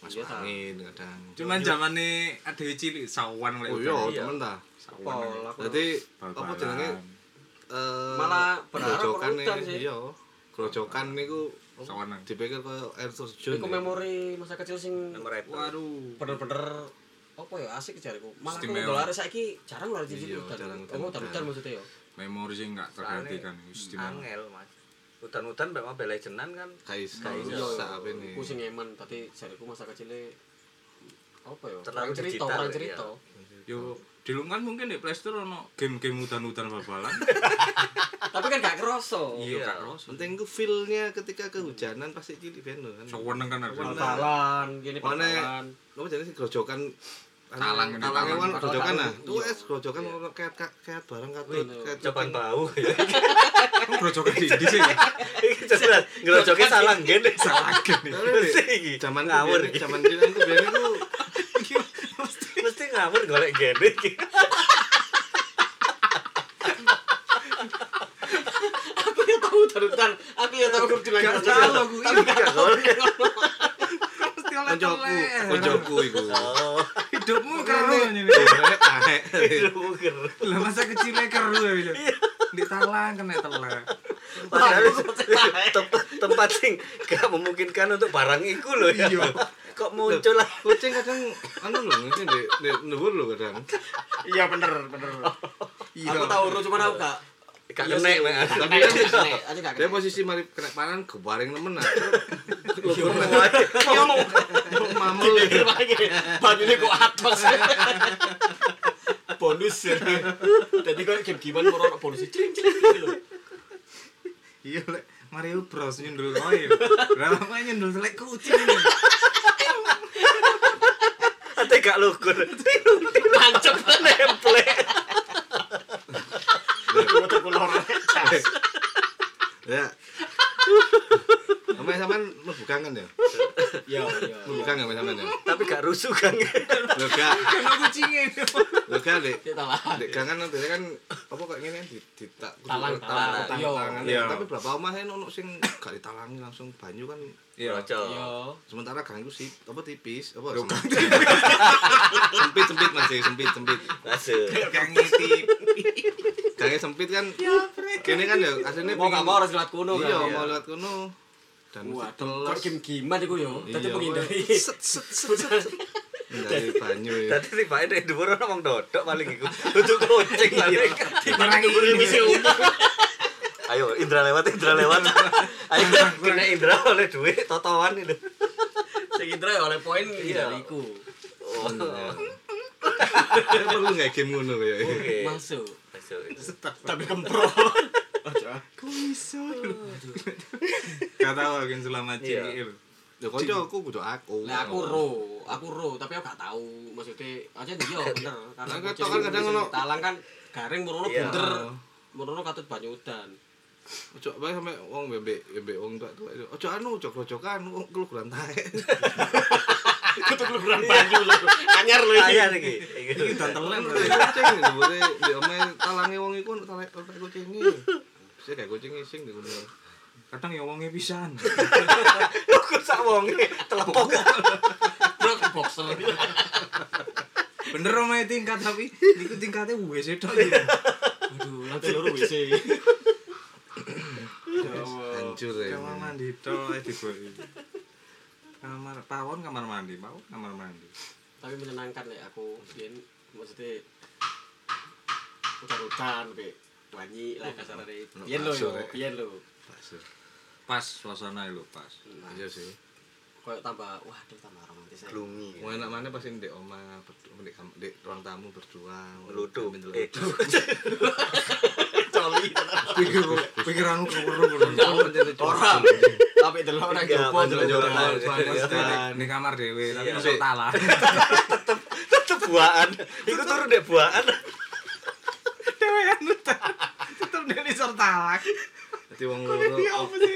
[SPEAKER 2] Masuk
[SPEAKER 1] Iya, ta.
[SPEAKER 2] angin kadang.
[SPEAKER 5] Cuman zamane adewe cilik sawan lek.
[SPEAKER 2] Iya. Oh iya,
[SPEAKER 4] iya.
[SPEAKER 5] udan.
[SPEAKER 2] temen ta.
[SPEAKER 1] pol aku
[SPEAKER 2] Dadi apa
[SPEAKER 5] Bal-balan.
[SPEAKER 2] jenenge eh
[SPEAKER 1] Malah berharap
[SPEAKER 2] grojokan
[SPEAKER 1] orang udan
[SPEAKER 2] nih,
[SPEAKER 1] sih. Oh.
[SPEAKER 2] Iya. oh. Grojokan niku apa,
[SPEAKER 5] Sawanan.
[SPEAKER 2] dipikir koyo air terjun.
[SPEAKER 1] Iku
[SPEAKER 2] ya.
[SPEAKER 1] memori masa kecil sing
[SPEAKER 4] Nomor repot.
[SPEAKER 5] Waduh.
[SPEAKER 1] bener-bener apa ya asik jariku. Malah aku
[SPEAKER 5] Istimewa.
[SPEAKER 1] dolar saiki jarang lari di situ
[SPEAKER 2] Iya, jarang
[SPEAKER 1] dan
[SPEAKER 2] udan
[SPEAKER 1] oh udan
[SPEAKER 2] udan.
[SPEAKER 1] maksudnya ya.
[SPEAKER 5] Memori sing gak tergantikan istimewa.
[SPEAKER 4] Angel, Mas. Hutan-hutan memang bela jenan kan.
[SPEAKER 2] Kais
[SPEAKER 4] Gak
[SPEAKER 2] kais
[SPEAKER 4] iso.
[SPEAKER 2] sak ini.
[SPEAKER 1] Aku sing eman tadi jariku masa kecilnya apa ya?
[SPEAKER 4] Terlalu
[SPEAKER 1] Kurang cerita,
[SPEAKER 4] digital,
[SPEAKER 1] kurang
[SPEAKER 4] iya.
[SPEAKER 1] cerita.
[SPEAKER 5] Yo dulu kan mungkin di Playstore ono game-game udan-udan bal-balan.
[SPEAKER 1] Tapi kan gak keroso.
[SPEAKER 5] Iya gak kroso.
[SPEAKER 2] Oh Penting ku feel-nya ketika kehujanan pasti cilik ben lho kan.
[SPEAKER 5] Saweneng kan arep.
[SPEAKER 1] Bal-balan, gini
[SPEAKER 2] Mana-
[SPEAKER 1] bal-balan.
[SPEAKER 2] Apa jenenge sih, grojokan
[SPEAKER 5] Talang ini,
[SPEAKER 2] talang
[SPEAKER 5] talang.
[SPEAKER 2] kan grojokan
[SPEAKER 1] Talang,
[SPEAKER 2] ah.
[SPEAKER 1] iya.
[SPEAKER 2] Tuh es grojokan ono kayak kayak barang katut.
[SPEAKER 1] Wih,
[SPEAKER 2] kayak
[SPEAKER 4] Coban
[SPEAKER 2] cucing.
[SPEAKER 4] bau. ya.
[SPEAKER 5] Kok grojokan di sih.
[SPEAKER 4] Iki jelas ngrojoknya salah ngene.
[SPEAKER 5] Salah gini.
[SPEAKER 2] Soalnya, Dik,
[SPEAKER 4] Mesti iki.
[SPEAKER 2] Zaman
[SPEAKER 4] ngawur
[SPEAKER 2] ngawur,
[SPEAKER 4] iki.
[SPEAKER 2] zaman cilik ku biyen iku
[SPEAKER 4] Mesti ngawur golek ngene iki.
[SPEAKER 1] Aku ya tau grup jelek.
[SPEAKER 5] Gak tau aku.
[SPEAKER 1] Tapi
[SPEAKER 5] Iya,
[SPEAKER 1] gak
[SPEAKER 5] gak
[SPEAKER 1] tau.
[SPEAKER 5] Pasti oleh
[SPEAKER 2] Koncoku,
[SPEAKER 5] telek.
[SPEAKER 2] koncoku iku.
[SPEAKER 4] Oh,
[SPEAKER 5] Hidupmu keru
[SPEAKER 2] Kene
[SPEAKER 5] ini.
[SPEAKER 2] derek taek.
[SPEAKER 4] Iya.
[SPEAKER 1] Iya,
[SPEAKER 4] buger.
[SPEAKER 5] Iya. Lah masa kecilnya keru ya. Bil? Di talang kena telek.
[SPEAKER 4] Padahal iya, tempat tempat sing gak memungkinkan untuk barang iku lho ya.
[SPEAKER 1] Iya.
[SPEAKER 4] Kok muncul lah.
[SPEAKER 2] Kucing kadang anu lho, ngene ndek ndek dhuwur lho kadang.
[SPEAKER 1] Iya bener, bener.
[SPEAKER 5] Iya.
[SPEAKER 1] Aku tau urut cuman aku gak.
[SPEAKER 4] Gak
[SPEAKER 1] Iya
[SPEAKER 4] kena
[SPEAKER 1] sih.
[SPEAKER 4] Mek.
[SPEAKER 1] Tapi kan kena, aja gak
[SPEAKER 2] Dia
[SPEAKER 1] kena.
[SPEAKER 2] posisi mari kena pangan kebaring nemen ah.
[SPEAKER 4] Lugur wae.
[SPEAKER 1] Ngomong.
[SPEAKER 2] Mamul.
[SPEAKER 1] Ban ini kok atas. Bonus ya. Jadi kan game-gamean orang bonus cing cing gitu loh.
[SPEAKER 5] Iya lek Mario Bros nyundul koin. Lah lama nyundul telek kucing.
[SPEAKER 4] Ate gak lugur.
[SPEAKER 1] Tancep.
[SPEAKER 4] Temple.
[SPEAKER 3] Foto kulor.
[SPEAKER 2] Ya. Sampai sampean mlebu kangen ya?
[SPEAKER 1] Iya, iya.
[SPEAKER 2] Mlebu kangen sampe sampean ya?
[SPEAKER 4] Tapi gak rusuh kan.
[SPEAKER 2] Lho gak,
[SPEAKER 5] Kena kucingnya.
[SPEAKER 2] lho gak Dek.
[SPEAKER 1] Kita lah.
[SPEAKER 2] Dek kangen kan biasanya kan apa kok ngene kan di- ditak
[SPEAKER 1] Talang,
[SPEAKER 2] talang,
[SPEAKER 1] talang.
[SPEAKER 2] talang,
[SPEAKER 1] Iya.
[SPEAKER 2] tangan.
[SPEAKER 5] Iya.
[SPEAKER 2] Tapi berapa omah kan ono sing gak ditalangi langsung banyu kan
[SPEAKER 5] Iya.
[SPEAKER 4] Rojo.
[SPEAKER 1] Iya.
[SPEAKER 2] sementara gang itu sih apa tipis apa
[SPEAKER 5] Loh,
[SPEAKER 2] sempit sempit sempit masih sempit sempit
[SPEAKER 4] Langsung.
[SPEAKER 5] Kayak ngitip.
[SPEAKER 2] gangnya sempit kan kene kan ya aslinya
[SPEAKER 1] Mau gak
[SPEAKER 2] pengen-
[SPEAKER 1] mau harus lihat kuno
[SPEAKER 2] iya
[SPEAKER 1] kan.
[SPEAKER 2] mau lewat kuno dan mesti
[SPEAKER 1] Waduh,
[SPEAKER 2] telas
[SPEAKER 1] kok game-gamean iku yo. Dadi
[SPEAKER 2] Iya,
[SPEAKER 1] menghindari.
[SPEAKER 2] dari banyu ya
[SPEAKER 4] Tadi tiba-tiba nek dhuwur ora wong dodok paling iku. Untuk kucing
[SPEAKER 1] Iya.
[SPEAKER 4] paling.
[SPEAKER 5] Diperangi ini.
[SPEAKER 4] Ayo Indra lewat, Indra lewat. Ayo kena Indra oleh duit totoan itu.
[SPEAKER 1] Sing Indra ya oleh poin dari iku.
[SPEAKER 4] Oh.
[SPEAKER 1] Iya.
[SPEAKER 2] Kayaknya Kan perlu nggak game ngono ya. kayak
[SPEAKER 4] Oke.
[SPEAKER 1] Masuk.
[SPEAKER 4] Masuk.
[SPEAKER 3] Tapi kempro. Ojo.
[SPEAKER 5] Gak tau aku yang selama
[SPEAKER 4] Iya.
[SPEAKER 5] cilik.
[SPEAKER 2] ya kocok aku kudu aku
[SPEAKER 1] Lah aku ro, aku ro, tapi aku gak tahu maksudnya aja iya bener karena
[SPEAKER 2] Lah,
[SPEAKER 1] aku
[SPEAKER 2] ketok kan
[SPEAKER 1] cilik
[SPEAKER 2] kadang
[SPEAKER 1] sing
[SPEAKER 2] ono-
[SPEAKER 1] talang kan garing merono
[SPEAKER 4] Iya.
[SPEAKER 1] bunder. Merono katut banyu udan.
[SPEAKER 2] Ojo apa ya, sampe wong bebek bebek wong tua tua itu. Ojo anu ojo krojokan wong kelu tae.
[SPEAKER 3] Kutu keluaran baju lho. Anyar lho iki.
[SPEAKER 4] Ayo iki. Iki
[SPEAKER 2] Telan kucing dibure di omae talange wong iku ono talange talange kucing iki. Bisa kayak kucing sing di kuno.
[SPEAKER 5] Kadang ya wongnya pisan.
[SPEAKER 4] Aku sak wonge telepok.
[SPEAKER 1] Bro ke boxer.
[SPEAKER 5] Bener omae tingkat tapi niku tingkatnya WC tok. ya.
[SPEAKER 1] Aduh, nanti loro wis.
[SPEAKER 2] Hancur ya.
[SPEAKER 5] Kamar mandi tok eh, dibuat. Kamar pawon kamar mandi, pawon kamar mandi.
[SPEAKER 1] Tapi menyenangkan ya aku yen maksudnya udan-udan be wanyi lah kasarane. Yen lho, yo,
[SPEAKER 2] Masuk, ya.
[SPEAKER 1] yen lho.
[SPEAKER 2] Pasir.
[SPEAKER 5] Pas suasana lho pas.
[SPEAKER 2] Iya sih.
[SPEAKER 1] Kayak tambah waduh tambah romantis. ya.
[SPEAKER 4] Lungi.
[SPEAKER 2] Mau enak mana pasti di oma berdua di kam- di ruang tamu berdua.
[SPEAKER 4] Ngeludu.
[SPEAKER 2] Ambil
[SPEAKER 4] Eh.
[SPEAKER 2] ngeludu.
[SPEAKER 1] Coli.
[SPEAKER 5] Pikir pikiranku keweru.
[SPEAKER 1] Ora. Tapi delok ora
[SPEAKER 4] Enggak,
[SPEAKER 1] jopo delok
[SPEAKER 4] Iya, delok
[SPEAKER 1] jopo.
[SPEAKER 4] jopo.
[SPEAKER 5] Di kamar dhewe tapi
[SPEAKER 4] Iya.
[SPEAKER 5] masuk talah.
[SPEAKER 4] Tetep buaan. Iku turu ndek buaan.
[SPEAKER 5] Dewean tetep dene isor talak.
[SPEAKER 2] Jadi wong loro di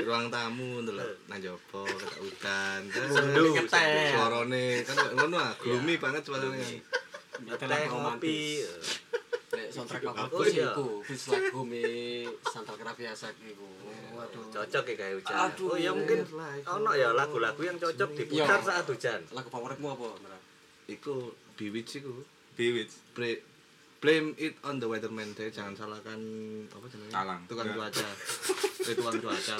[SPEAKER 2] ruang tamu ndelok nang jopo ketak hutan.
[SPEAKER 1] Sendu. Ketek.
[SPEAKER 2] Suarane kan kayak ngono ah, gloomy banget suarane. kan.
[SPEAKER 4] Teh
[SPEAKER 1] Teh
[SPEAKER 4] kopi.
[SPEAKER 1] romantis. Nek soundtrack
[SPEAKER 4] Oh,
[SPEAKER 1] favorit
[SPEAKER 4] iya.
[SPEAKER 1] iku, bis lagu me Santal Kraviasaki iku. Waduh.
[SPEAKER 4] Cocok ya kayak hujan.
[SPEAKER 1] Aduh.
[SPEAKER 4] Oh ya mungkin ono ya lagu-lagu yang cocok diputar
[SPEAKER 1] Iya.
[SPEAKER 4] saat hujan.
[SPEAKER 1] Lagu favoritmu apa, Ndra?
[SPEAKER 2] Iku biwic iku.
[SPEAKER 5] Biwit.
[SPEAKER 2] Bre- blame it on the weatherman deh jangan salahkan apa jenenge
[SPEAKER 5] Talang.
[SPEAKER 2] tukang
[SPEAKER 5] Enggak.
[SPEAKER 2] cuaca Eh, tukang cuaca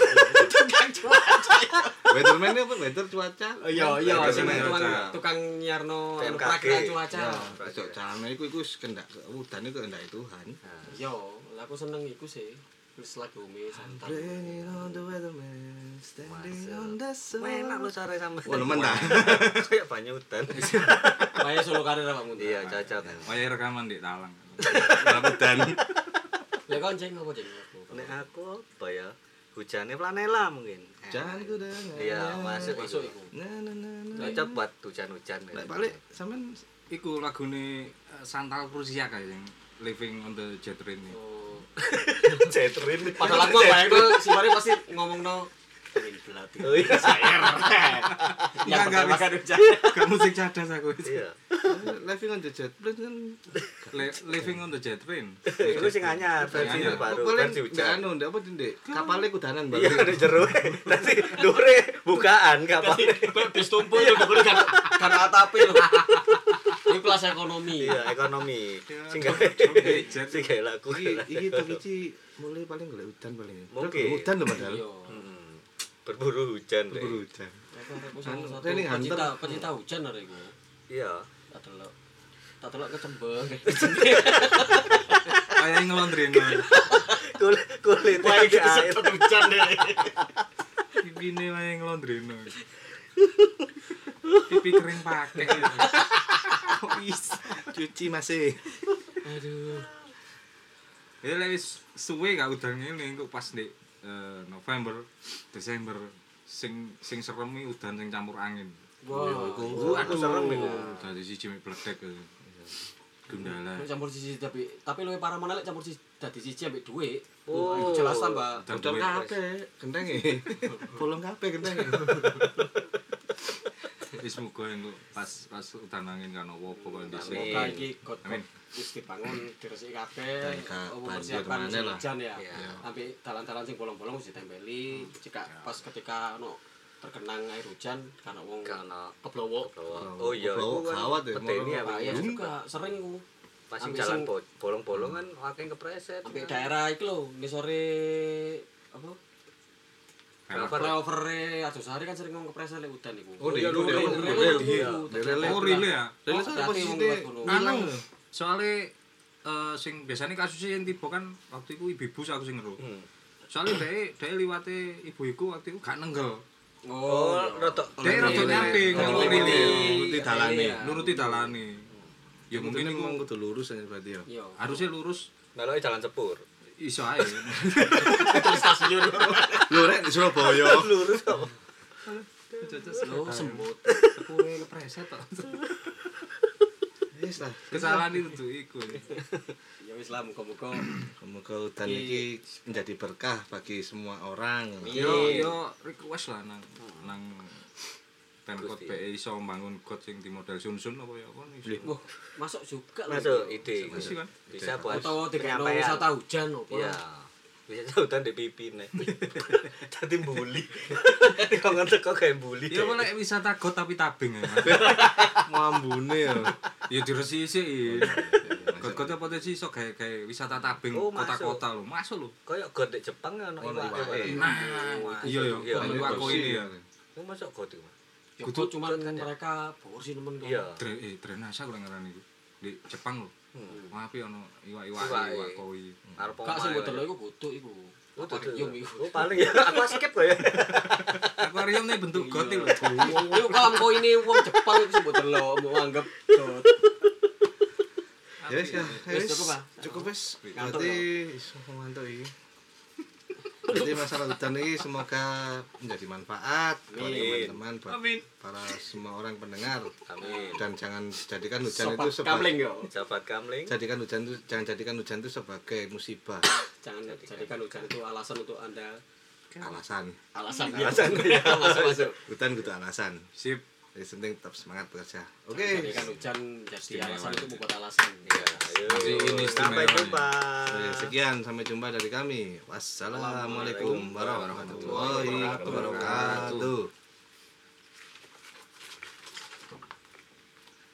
[SPEAKER 2] weatherman ini apa weather cuaca
[SPEAKER 1] Iya, iya,
[SPEAKER 5] Lagu
[SPEAKER 1] sing
[SPEAKER 5] sing
[SPEAKER 1] tukang
[SPEAKER 5] cuaca.
[SPEAKER 1] tukang nyarno
[SPEAKER 4] TMKG.
[SPEAKER 1] prakra cuaca.
[SPEAKER 2] ya cocok carane iku iku kendak udan iku kendak Tuhan
[SPEAKER 1] Yo, lah aku seneng iku sih. Bis lagu me Santal.
[SPEAKER 2] blame it on the weatherman standing on the sun
[SPEAKER 4] Wah, Enak lu sore sama.
[SPEAKER 2] Wah, nemen dah.
[SPEAKER 4] Kayak banyu hutan.
[SPEAKER 1] Maya solo karir apa Ndra?
[SPEAKER 4] Iya, cocok.
[SPEAKER 5] Wayahe Oh, rekaman di talang.
[SPEAKER 2] udan
[SPEAKER 1] Lah kon jeng apa jeng aku?
[SPEAKER 4] Nek aku apa ya? Hujannya planela mungkin.
[SPEAKER 2] jangan ku dengar
[SPEAKER 4] Iya, masuk
[SPEAKER 1] Masuk
[SPEAKER 4] masuk.
[SPEAKER 1] iku.
[SPEAKER 2] na na na na
[SPEAKER 4] Cocok buat hujan-hujan. gitu.
[SPEAKER 2] Lek balik sampean
[SPEAKER 5] Iku lagune eh, Santal Prusia kayak yang Living on the Jet Train. ini.
[SPEAKER 1] Oh.
[SPEAKER 4] Cetrin.
[SPEAKER 1] Padahal aku bayangno si Mari pasti ngomongno Angin belati.
[SPEAKER 4] Oh iya.
[SPEAKER 5] Enggak, enggak,
[SPEAKER 1] Yang
[SPEAKER 5] wis.
[SPEAKER 1] makan hujan.
[SPEAKER 5] Gak musik cadas aku.
[SPEAKER 4] Iya.
[SPEAKER 2] Living on the jet plane kan
[SPEAKER 5] Le- living on the jet plane.
[SPEAKER 4] Iku sing anyar versi
[SPEAKER 5] anyar.
[SPEAKER 4] baru
[SPEAKER 2] paling
[SPEAKER 4] versi
[SPEAKER 2] nggak
[SPEAKER 4] hujan.
[SPEAKER 2] anu ndak apa ndek kapale kudanan
[SPEAKER 4] Iya
[SPEAKER 2] berarti.
[SPEAKER 4] ada jero. Nanti dore bukaan kapal.
[SPEAKER 1] Bis tumpul lho kok karena karena atape lho. Ini kelas ekonomi.
[SPEAKER 4] Iya ekonomi. Sing gawe
[SPEAKER 5] Jet.
[SPEAKER 4] sing gawe laku.
[SPEAKER 2] Iki iki Tokichi mulai paling golek udan paling.
[SPEAKER 4] Mungkin.
[SPEAKER 2] Udan lho padahal.
[SPEAKER 1] Iya.
[SPEAKER 4] Hmm, Berburu hujan. Dek.
[SPEAKER 2] Berburu udan.
[SPEAKER 1] Aku salah satu
[SPEAKER 2] Training
[SPEAKER 1] pecinta
[SPEAKER 2] hunter.
[SPEAKER 1] pecinta hujan arek iku.
[SPEAKER 4] Iya.
[SPEAKER 1] Tak delok. Tak delok kecembeng.
[SPEAKER 5] Kayak ngelondrino.
[SPEAKER 4] Kul kulitnya
[SPEAKER 3] Wah,
[SPEAKER 4] lagi
[SPEAKER 3] itu
[SPEAKER 4] air.
[SPEAKER 3] setan hujan deh.
[SPEAKER 5] Pipine kayak ngelondrino. Pipi kering pakai. Kok bisa?
[SPEAKER 2] Oh, Cuci masih.
[SPEAKER 1] Aduh.
[SPEAKER 5] Ya lek wis suwe gak udan ngene kok pas di eh, November, Desember sing sing serem iki udan sing campur angin.
[SPEAKER 1] Wah.
[SPEAKER 4] Uh, aku serem iku.
[SPEAKER 5] Dadi siji mek pledek. eh. Gundala.
[SPEAKER 1] Nek campur sisi tapi tapi luwih parah mana lek campur sisi dadi siji ambek dhuwit.
[SPEAKER 4] Oh.
[SPEAKER 1] Oh, jelas tambah.
[SPEAKER 5] Dan
[SPEAKER 2] Dodol
[SPEAKER 5] duit.
[SPEAKER 2] kabeh gendenge. Bolong kabeh gendenge.
[SPEAKER 5] Wis muga engko pas pas udan angin kan apa-apa kok dhisik.
[SPEAKER 1] Semoga iki God
[SPEAKER 5] Amin.
[SPEAKER 1] wis dibangun diresiki kabeh.
[SPEAKER 2] Dan gak
[SPEAKER 1] Apa
[SPEAKER 2] banjir
[SPEAKER 1] persiapan
[SPEAKER 2] maneh
[SPEAKER 1] musim
[SPEAKER 2] lah.
[SPEAKER 1] hujan ya.
[SPEAKER 4] Iya.
[SPEAKER 1] Sampai dalan-dalan sing bolong-bolong wis ditempeli. Jika pas ketika ono terkenang air hujan karena wong
[SPEAKER 4] Karena
[SPEAKER 1] keblowo.
[SPEAKER 4] Oh iya.
[SPEAKER 2] Keblowok,
[SPEAKER 4] iku kan
[SPEAKER 2] gawat ya,
[SPEAKER 4] Peteni
[SPEAKER 2] mau-
[SPEAKER 4] ya.
[SPEAKER 1] Bahaya
[SPEAKER 4] Pak.
[SPEAKER 1] juga sering ku.
[SPEAKER 4] Pas sing
[SPEAKER 1] Ambil
[SPEAKER 4] jalan
[SPEAKER 1] sing-
[SPEAKER 4] bo- bolong-bolong kan akeh kepreset.
[SPEAKER 1] Sampai daerah iki lho, ngisore apa?
[SPEAKER 4] Flyover.
[SPEAKER 1] Flyover Arjosari kan sering ngomong kepresan lek udan iku.
[SPEAKER 2] Oh,
[SPEAKER 4] iya,
[SPEAKER 2] iya,
[SPEAKER 4] lho,
[SPEAKER 2] lho,
[SPEAKER 4] lho,
[SPEAKER 2] lho,
[SPEAKER 4] lho,
[SPEAKER 2] lho,
[SPEAKER 4] lho, iya.
[SPEAKER 2] Lele.
[SPEAKER 5] Oh, rile ya.
[SPEAKER 2] Lele
[SPEAKER 1] Oh,
[SPEAKER 2] soalnya
[SPEAKER 1] berarti
[SPEAKER 2] posisine
[SPEAKER 1] wong luar gunung.
[SPEAKER 2] hilang.
[SPEAKER 5] Anu, soalnya eh, sing biasanya kasusnya yang tiba kan waktu itu ibu ibu aku sing ngeru.
[SPEAKER 4] Hmm.
[SPEAKER 5] Soalnya dia dia liwate ibu iku waktu itu gak nenggel.
[SPEAKER 4] Oh, rotok.
[SPEAKER 5] Dia rada nyamping kalau
[SPEAKER 1] Nuruti.
[SPEAKER 5] rile.
[SPEAKER 2] Nuruti dalane.
[SPEAKER 1] Iya.
[SPEAKER 5] Nuruti dalane. Ya mungkin iku
[SPEAKER 2] memang kudu lurus aja berarti ya.
[SPEAKER 1] Iya.
[SPEAKER 5] harusnya lurus
[SPEAKER 4] Meloke Nah, jalan sepur.
[SPEAKER 5] iso ae.
[SPEAKER 2] Lho rek di Surabaya.
[SPEAKER 4] Lurus kok.
[SPEAKER 1] Lho semut.
[SPEAKER 5] Sepure kepreset to.
[SPEAKER 2] Wis lah.
[SPEAKER 5] Kesalahan itu tuh iku.
[SPEAKER 1] Ya wis lah muga-muga.
[SPEAKER 2] Semoga hutan ini menjadi berkah bagi semua orang. Ya,
[SPEAKER 5] Yo yo request lah nang nang Pemkot
[SPEAKER 4] Gusti.
[SPEAKER 5] PE iso bangun got sing di model sun-sun apa ya apa iso.
[SPEAKER 1] Wah, masuk juga lho.
[SPEAKER 4] Masuk ide.
[SPEAKER 5] Iso kan.
[SPEAKER 4] Bisa buat
[SPEAKER 1] Utawa dikeno
[SPEAKER 4] penyampaian.
[SPEAKER 1] wisata hujan opo.
[SPEAKER 4] Iya. Bisa sautan di pipi nek. Dadi mbuli. Kangen teko kayak mbuli.
[SPEAKER 5] Ya boleh wisata got tapi tabing ya.
[SPEAKER 2] Mambune ya.
[SPEAKER 5] Ya diresiki. Got-got apa sih iso kayak kayak wisata tabing
[SPEAKER 4] Oh, masuk.
[SPEAKER 5] kota-kota lho. Masuk lho.
[SPEAKER 4] Kayak god di Jepang kan ono
[SPEAKER 2] Ono iwake.
[SPEAKER 4] iwake.
[SPEAKER 5] Nah, iya ya.
[SPEAKER 4] Iya.
[SPEAKER 5] Iya, aku ini eh, ya.
[SPEAKER 4] Ku masuk god iku.
[SPEAKER 1] Kudu cuman mereka bor sih nemen kok.
[SPEAKER 4] Iya.
[SPEAKER 5] Dre, eh, drenase aku ngarani iku. Di Jepang lho. Wah, api ono Hmm. iwak-iwak
[SPEAKER 4] Iwak,
[SPEAKER 5] iwak
[SPEAKER 4] iya.
[SPEAKER 5] koi.
[SPEAKER 4] Arep
[SPEAKER 1] Kak sing
[SPEAKER 4] omahe.
[SPEAKER 1] model iku butuh iku.
[SPEAKER 4] Oh, tuh, tuh.
[SPEAKER 1] Akuarium iku.
[SPEAKER 4] Oh, paling ya aku skip kok ya.
[SPEAKER 5] Akuarium nih bentuk got iki lho.
[SPEAKER 1] Yo kolam kok ini wong Jepang iku sebut delok mau anggap dot.
[SPEAKER 2] Ya wis ya.
[SPEAKER 1] Wis, cukup, Pak.
[SPEAKER 2] Cukup wis.
[SPEAKER 1] Ngantuk,
[SPEAKER 2] Berarti iso ngantuk iki. Jadi masalah hutan ini semoga menjadi manfaat buat
[SPEAKER 4] Amin.
[SPEAKER 2] teman-teman, buat
[SPEAKER 5] Amin.
[SPEAKER 2] para semua orang pendengar.
[SPEAKER 4] Amin.
[SPEAKER 2] Dan jangan jadikan hujan itu
[SPEAKER 1] Sopat
[SPEAKER 2] sebagai
[SPEAKER 1] kamling yo.
[SPEAKER 4] Jabat kamling.
[SPEAKER 2] jadikan hujan itu jangan jadikan hujan itu sebagai musibah
[SPEAKER 1] Jangan jadikan hujan itu alasan untuk Anda
[SPEAKER 2] alasan
[SPEAKER 1] alasan
[SPEAKER 4] Alasan, iya.
[SPEAKER 1] masuk masuk.
[SPEAKER 2] hutan gitu alasan
[SPEAKER 5] Sip.
[SPEAKER 2] jadi penting tetap semangat bekerja oke
[SPEAKER 1] Jadikan hujan jadi alasan untuk membuat alasan.
[SPEAKER 4] Iya, ayo.
[SPEAKER 5] Masih ini
[SPEAKER 4] Sampai
[SPEAKER 5] istimewa nih.
[SPEAKER 4] jumpa.
[SPEAKER 2] Eh, Sekian, sampai jumpa dari kami. Wassalamualaikum warahmatullahi wabarakatuh.